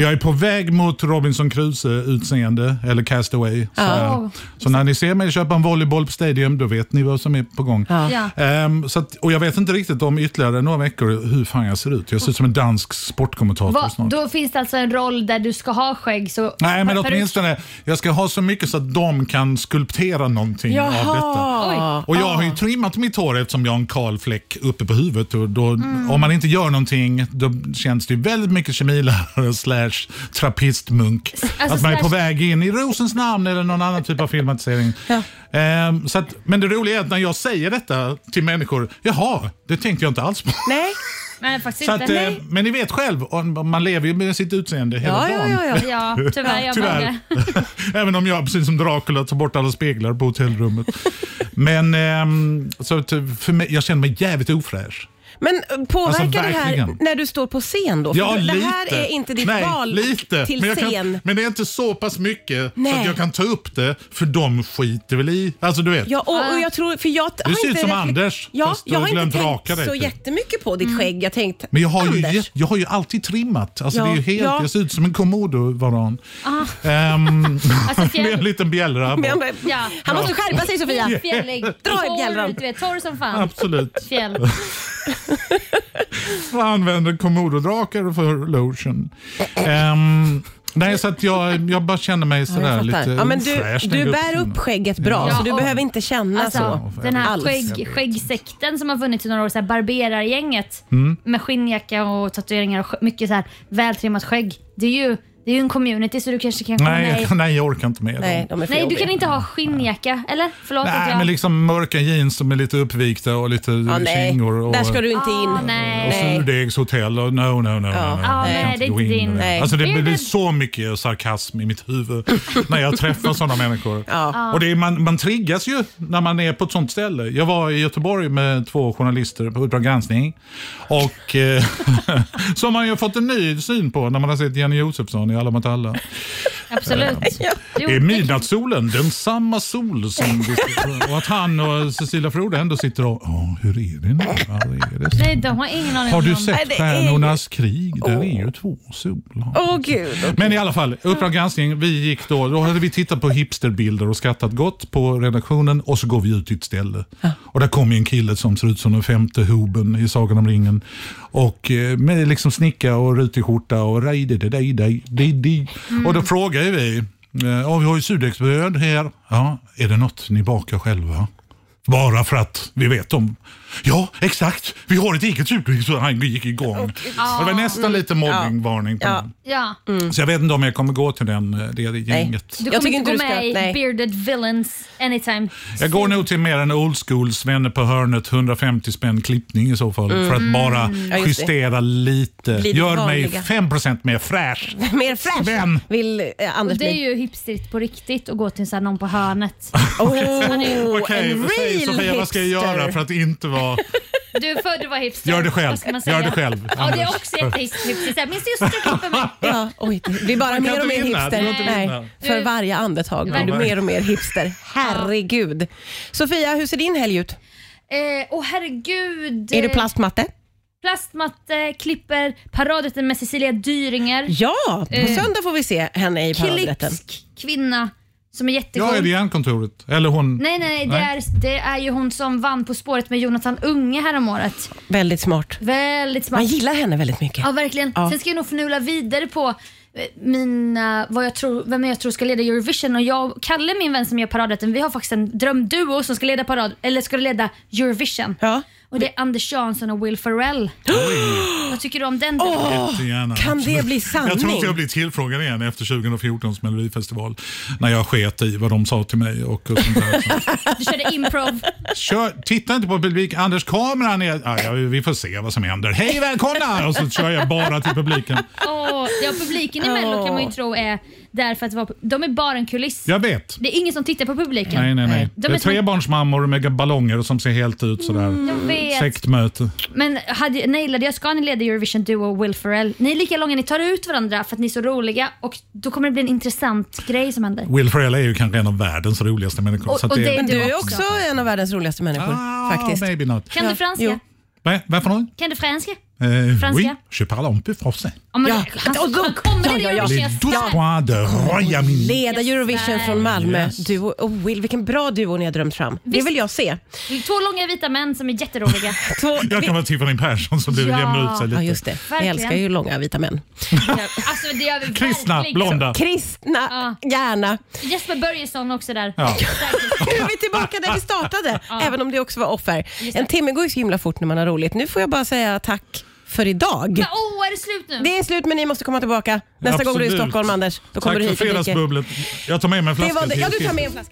[SPEAKER 2] Jag är på väg mot Robinson Crusoe-utseende, eller Castaway. sådär.
[SPEAKER 3] Oh.
[SPEAKER 2] Så när ni ser mig köpa en volleyboll på Stadium, då vet ni vad som är på gång.
[SPEAKER 1] Ja.
[SPEAKER 3] Ja.
[SPEAKER 2] Ehm, så att, och jag vet inte riktigt om ytterligare några veckor hur fan jag ser ut. Jag ser ut som en dansk sportkommentator
[SPEAKER 3] Va,
[SPEAKER 2] snart.
[SPEAKER 3] då finns det alltså en roll där du ska ha skägg. Så
[SPEAKER 2] Nej, men
[SPEAKER 3] peruk-
[SPEAKER 2] åtminstone jag ska ha så mycket så att de kan skulptera någonting av detta.
[SPEAKER 1] Jaha.
[SPEAKER 2] Och jag har ju trimmat mitt hår eftersom jag har en kal fläck uppe på huvudet. Och då, Om man inte gör någonting då känns det ju väldigt mycket kemilärare (laughs) slash trappistmunk.
[SPEAKER 3] alltså
[SPEAKER 2] att man är på
[SPEAKER 3] slash-
[SPEAKER 2] väg in i Rosens namn eller någon annan typ av filmatisering. Ehm, så att, men det roliga är att när jag säger detta till människor, jaha, det tänkte jag inte alls på.
[SPEAKER 1] Nej.
[SPEAKER 3] Nej, faktiskt
[SPEAKER 2] Så
[SPEAKER 3] inte.
[SPEAKER 2] att, eh, men ni vet själv, om- man lever ju med sitt utseende
[SPEAKER 1] Ja,
[SPEAKER 2] hela
[SPEAKER 1] ja,
[SPEAKER 2] dagen.
[SPEAKER 1] ja, ja.
[SPEAKER 3] Ja, tyvärr. Jag
[SPEAKER 2] Tyvärr. (laughs) Även om jag, precis som Dracula, tar bort alla speglar på hotellrummet. Men ehm, så att för mig, jag känner mig jävligt ofräsch.
[SPEAKER 1] Men eh, påverkar
[SPEAKER 2] Alltså,
[SPEAKER 1] det här
[SPEAKER 2] verkligen.
[SPEAKER 1] när du står på scen då? För
[SPEAKER 2] Ja,
[SPEAKER 1] det
[SPEAKER 2] lite.
[SPEAKER 1] här är inte ditt
[SPEAKER 2] Nej,
[SPEAKER 1] val
[SPEAKER 2] lite.
[SPEAKER 1] till
[SPEAKER 2] men jag
[SPEAKER 1] scen.
[SPEAKER 2] Kan, men det är inte så pass mycket
[SPEAKER 1] Nej.
[SPEAKER 2] så att jag kan ta upp det, för de skiter väl i. Alltså du vet.
[SPEAKER 1] Ja,
[SPEAKER 3] Ah.
[SPEAKER 1] och, och jag tror, för jag t-
[SPEAKER 2] Du
[SPEAKER 1] har
[SPEAKER 2] ser ut
[SPEAKER 1] inte
[SPEAKER 2] som
[SPEAKER 1] reflek-
[SPEAKER 2] Anders,
[SPEAKER 1] Ja,
[SPEAKER 2] fast du
[SPEAKER 1] jag
[SPEAKER 2] har
[SPEAKER 1] har inte
[SPEAKER 2] glömt
[SPEAKER 1] tänkt
[SPEAKER 2] raka dig,
[SPEAKER 1] så
[SPEAKER 2] typ.
[SPEAKER 1] jättemycket på ditt
[SPEAKER 3] Mm.
[SPEAKER 1] skägg. Jag tänkt,
[SPEAKER 2] Men jag har, ju,
[SPEAKER 1] Anders.
[SPEAKER 2] jätt- jag har ju alltid trimmat. Alltså
[SPEAKER 1] Ja.
[SPEAKER 2] det är ju helt,
[SPEAKER 1] Ja. Ah.
[SPEAKER 2] Jag ser ut som en komodovaran. Ehm, (laughs)
[SPEAKER 3] Alltså,
[SPEAKER 2] med en
[SPEAKER 3] fjäll,
[SPEAKER 2] liten bjällra.
[SPEAKER 1] Men han-
[SPEAKER 3] Ja.
[SPEAKER 1] Han måste skärpa sig Sofia.
[SPEAKER 3] fjällig.
[SPEAKER 1] Dra i
[SPEAKER 3] Torr,
[SPEAKER 1] bjällran.
[SPEAKER 3] Du vet, torr som fan.
[SPEAKER 2] Absolut.
[SPEAKER 3] Fjäll.
[SPEAKER 2] Vad använder komododrakar för lotion? Ehm, nej, så att jag, jag bara känner mig
[SPEAKER 1] Ja,
[SPEAKER 2] sådär
[SPEAKER 1] jag
[SPEAKER 2] lite
[SPEAKER 1] fattar. Ja, men du,
[SPEAKER 2] ofräsch,
[SPEAKER 1] du
[SPEAKER 2] tänker
[SPEAKER 1] bär
[SPEAKER 2] jag.
[SPEAKER 1] upp skägget bra,
[SPEAKER 3] Ja,
[SPEAKER 1] så du
[SPEAKER 3] och-
[SPEAKER 1] behöver inte känna så.
[SPEAKER 3] Alltså, den här
[SPEAKER 1] Alls.
[SPEAKER 3] skägg, skäggsekten som har funnits i några år, så här
[SPEAKER 2] Mm.
[SPEAKER 3] barberargänget med skinnjacka och tatueringar och sk- mycket så här vältrimmat skägg. Det är ju Det är ju en community så du kanske kan komma
[SPEAKER 2] Nej,
[SPEAKER 3] nej.
[SPEAKER 2] jag- (laughs) nej, jag orkar inte med
[SPEAKER 1] Nej,
[SPEAKER 2] dem.
[SPEAKER 1] de är för
[SPEAKER 3] nej, du
[SPEAKER 1] jobbiga.
[SPEAKER 3] kan inte ha skinnjacka, eller? Förlåt att
[SPEAKER 2] Nej,
[SPEAKER 3] jag...
[SPEAKER 2] men liksom mörka jeans som är lite uppvikta och lite
[SPEAKER 1] ja, nej.
[SPEAKER 2] kängor. Och,
[SPEAKER 1] Där ska du inte in.
[SPEAKER 3] Ah, nej.
[SPEAKER 2] och surdegshotell och no, no, no. no, no.
[SPEAKER 3] Ja,
[SPEAKER 2] Jag kan
[SPEAKER 3] nej, det är
[SPEAKER 2] gå
[SPEAKER 3] inte
[SPEAKER 2] in
[SPEAKER 3] din-
[SPEAKER 2] i det.
[SPEAKER 1] Nej.
[SPEAKER 2] Alltså, det
[SPEAKER 3] Det är
[SPEAKER 2] blir
[SPEAKER 3] det-
[SPEAKER 2] så mycket sarkasm i mitt huvud
[SPEAKER 3] (laughs)
[SPEAKER 2] när jag träffar sådana människor. Och det är, man, man triggas ju när man är på ett sånt ställe. Jag var i Göteborg med två journalister på Uppdrag granskning. Och, eh, (laughs) som man ju har fått en ny syn på när man har sett Jenny Josefsson i Alla mot alla.
[SPEAKER 1] (laughs)
[SPEAKER 3] Absolut. Jo,
[SPEAKER 2] Det är
[SPEAKER 3] det-
[SPEAKER 2] midnattssolen, den samma sol som... Och att han och Cecilia Frode ändå sitter och... "Ja, hur är det nu? Ja, det är det så."
[SPEAKER 3] Nej, de har ingen aning
[SPEAKER 2] Har
[SPEAKER 3] om
[SPEAKER 2] du
[SPEAKER 3] dem.
[SPEAKER 1] Nej,
[SPEAKER 2] sett
[SPEAKER 1] det är
[SPEAKER 2] Stjärnornas krig? Där är ju två solar.
[SPEAKER 1] Åh gud.
[SPEAKER 2] Men i alla fall, Uppdrag granskning, vi gick då, då hade vi tittat på hipsterbilder och skrattat gott på redaktionen och så går vi ut till ett ställe. Och där kommer en kille som ser ut som den femte hoben i Sagan om ringen. Och eh, med liksom snicka och rutig skjorta och rej de de de de de de. Och då frågar ju vi, eh, ja vi har ju surdegsbröd här. Ja, är det något ni bakar själva? Bara för att vi vet om... Ja, exakt. Vi har ett eget surdegsbröd. Så Han gick igång. Och det var nästan lite mobbingvarning på
[SPEAKER 1] Ja.
[SPEAKER 2] den.
[SPEAKER 3] Ja.
[SPEAKER 2] Så jag vet inte om jag kommer gå till den, eh, det gänget.
[SPEAKER 3] Du
[SPEAKER 1] Jag
[SPEAKER 3] kommer
[SPEAKER 1] tycker
[SPEAKER 3] inte
[SPEAKER 1] inte
[SPEAKER 3] gå
[SPEAKER 1] du
[SPEAKER 3] med
[SPEAKER 1] ska-
[SPEAKER 3] i
[SPEAKER 1] nej.
[SPEAKER 3] bearded villains anytime.
[SPEAKER 2] Jag går nog till mer en old school Svenne på hörnet, 150 spänn klippning i så fall. För
[SPEAKER 3] Mm.
[SPEAKER 2] att bara
[SPEAKER 1] just det.
[SPEAKER 2] justera lite.
[SPEAKER 1] Bli lite
[SPEAKER 2] Gör mig
[SPEAKER 1] vanliga.
[SPEAKER 2] 5% mer fräsch.
[SPEAKER 1] Mer fräsch
[SPEAKER 2] Sven.
[SPEAKER 1] vill eh, Anders
[SPEAKER 3] Det är
[SPEAKER 1] bli.
[SPEAKER 3] ju hipstrigt på riktigt att gå till så här någon på hörnet.
[SPEAKER 1] Åh,
[SPEAKER 2] Okej,
[SPEAKER 1] en
[SPEAKER 2] vad säger
[SPEAKER 1] real
[SPEAKER 2] Sofia, vad ska jag göra för att inte
[SPEAKER 3] (laughs)
[SPEAKER 2] vara...
[SPEAKER 3] Du är född att vara hipster.
[SPEAKER 2] Gör det själv.
[SPEAKER 3] Vad ska man säga?
[SPEAKER 2] Gör det själv.
[SPEAKER 3] Ja, det är
[SPEAKER 2] Anders.
[SPEAKER 3] också ett hipster. Så här, Min syster klipper mig.
[SPEAKER 1] Ja, oj, det blir bara
[SPEAKER 2] kan
[SPEAKER 1] mer
[SPEAKER 2] inte
[SPEAKER 1] och mer
[SPEAKER 2] vinna, det
[SPEAKER 1] hipster.
[SPEAKER 2] går inte att vinna.
[SPEAKER 1] Nej, för varje andetag blir du
[SPEAKER 2] verkligen.
[SPEAKER 1] mer och mer hipster. Herregud. Sofia, hur ser din helg ut?
[SPEAKER 3] Eh, Åh herregud.
[SPEAKER 1] Är det plastmatte?
[SPEAKER 3] Plastmatte klipper paradrätten med Cecilia Dyringer.
[SPEAKER 1] Ja, på
[SPEAKER 3] Eh,
[SPEAKER 1] söndag får vi se henne i paradrätten.
[SPEAKER 3] Klipsk kvinna som är jättegod.
[SPEAKER 2] Jag är det hjärnkontoret. Eller hon...
[SPEAKER 3] Nej, nej, det
[SPEAKER 2] Nej.
[SPEAKER 3] är, det är ju hon som vann På spåret med Jonathan Unge häromåret.
[SPEAKER 1] Väldigt smart.
[SPEAKER 3] Väldigt smart.
[SPEAKER 1] Man gillar henne väldigt mycket.
[SPEAKER 3] Ja, verkligen.
[SPEAKER 1] Ja.
[SPEAKER 3] Sen ska jag nog förnula vidare på eh, mina, vad jag tror, vem jag tror ska leda Eurovision. Och jag och Kalle, min vän som gör paradrätten, vi har faktiskt en drömduo som ska leda, parad, eller ska leda Eurovision.
[SPEAKER 1] Ja.
[SPEAKER 3] Och det är Anders Jansson och
[SPEAKER 1] (gasps)
[SPEAKER 3] Will Ferrell. Vad tycker du om den?
[SPEAKER 2] Jättegärna.
[SPEAKER 1] Kan det
[SPEAKER 2] Absolut.
[SPEAKER 1] bli sanning?
[SPEAKER 2] Jag tror inte jag blir tillfrågad igen efter 2014s melodifestival. När jag sket i vad de sa till mig och, och sånt där. Så-
[SPEAKER 3] Du körde improv.
[SPEAKER 2] Kör, titta inte på publik. Anders, kameran är... Ja, ja, vi får se vad som händer. Hej, välkomna! Och så kör jag bara till publiken.
[SPEAKER 3] Åh, ja, publiken i Mello kan man ju tro är där för att vara... De är bara en kuliss.
[SPEAKER 2] Jag vet.
[SPEAKER 3] Det är ingen som tittar på publiken.
[SPEAKER 2] Nej, nej, nej. det
[SPEAKER 3] De är
[SPEAKER 2] är trebarnsmammor med ballonger som ser helt ut sådär.
[SPEAKER 3] Mm, Jag vet.
[SPEAKER 2] Sektmöte.
[SPEAKER 3] Men hade, nailade jag ska ni leda Eurovision Duo Will Ferrell. Ni är lika långa, ni tar ut varandra för att ni är så roliga och då kommer det bli en intressant grej som händer.
[SPEAKER 2] Will Ferrell är ju kanske en av världens roligaste människor.
[SPEAKER 3] Och-
[SPEAKER 2] så att
[SPEAKER 3] och det
[SPEAKER 1] Men du
[SPEAKER 3] Du
[SPEAKER 1] är
[SPEAKER 3] också.
[SPEAKER 1] också en av världens roligaste människor
[SPEAKER 2] Ah,
[SPEAKER 1] faktiskt.
[SPEAKER 2] maybe not.
[SPEAKER 3] Kan
[SPEAKER 1] Ja.
[SPEAKER 3] du franska?
[SPEAKER 1] Jo.
[SPEAKER 2] Va- Vad för något?
[SPEAKER 3] Kan du franska?
[SPEAKER 2] Eh,
[SPEAKER 3] Franska?
[SPEAKER 2] Oui, je parle un peu français.
[SPEAKER 3] Ja, men,
[SPEAKER 1] Ja.
[SPEAKER 3] Han,
[SPEAKER 1] Och då-
[SPEAKER 3] han
[SPEAKER 1] ja,
[SPEAKER 3] kommer i
[SPEAKER 1] ja, ja.
[SPEAKER 2] Les
[SPEAKER 3] Eurovision.
[SPEAKER 2] douze points de Royamin.
[SPEAKER 1] Leda Eurovision från Malmö.
[SPEAKER 2] Yes.
[SPEAKER 1] Duo, oh, Will, vilken bra duo ni har drömt fram. Det vill jag se.
[SPEAKER 3] Två långa vita män som
[SPEAKER 1] (laughs)
[SPEAKER 3] är jätteroliga.
[SPEAKER 1] Två,
[SPEAKER 2] (laughs) Jag kan vara Tiffany Persson som du
[SPEAKER 3] Ja.
[SPEAKER 2] jämnar ut sig lite.
[SPEAKER 1] ja, just det. Jag
[SPEAKER 3] Verkligen.
[SPEAKER 1] älskar ju långa vita män.
[SPEAKER 3] alltså, det gör vi
[SPEAKER 2] Kristna,
[SPEAKER 3] verkligen.
[SPEAKER 2] blonda.
[SPEAKER 1] Kristna, gärna.
[SPEAKER 3] Jesper Börjesson också där.
[SPEAKER 2] Ja.
[SPEAKER 1] Nu är vi tillbaka där
[SPEAKER 2] (laughs)
[SPEAKER 1] vi startade, även om det också var offer. En timme går ju så himla fort när man har roligt. Nu får jag bara säga tack för idag.
[SPEAKER 3] Men, Åh, är det slut nu?
[SPEAKER 1] Mm. Det är slut men ni måste komma tillbaka nästa gång du är i
[SPEAKER 2] Absolut.
[SPEAKER 1] Stockholm Anders. Då kommer
[SPEAKER 2] Tack
[SPEAKER 1] du
[SPEAKER 2] för
[SPEAKER 1] hit och dricker.
[SPEAKER 2] fredagsbubblet. Jag tar med mig en
[SPEAKER 1] Det
[SPEAKER 2] flaska
[SPEAKER 1] var det. Ja,
[SPEAKER 2] till
[SPEAKER 1] du tar
[SPEAKER 2] Tiffany.
[SPEAKER 1] med en flaska.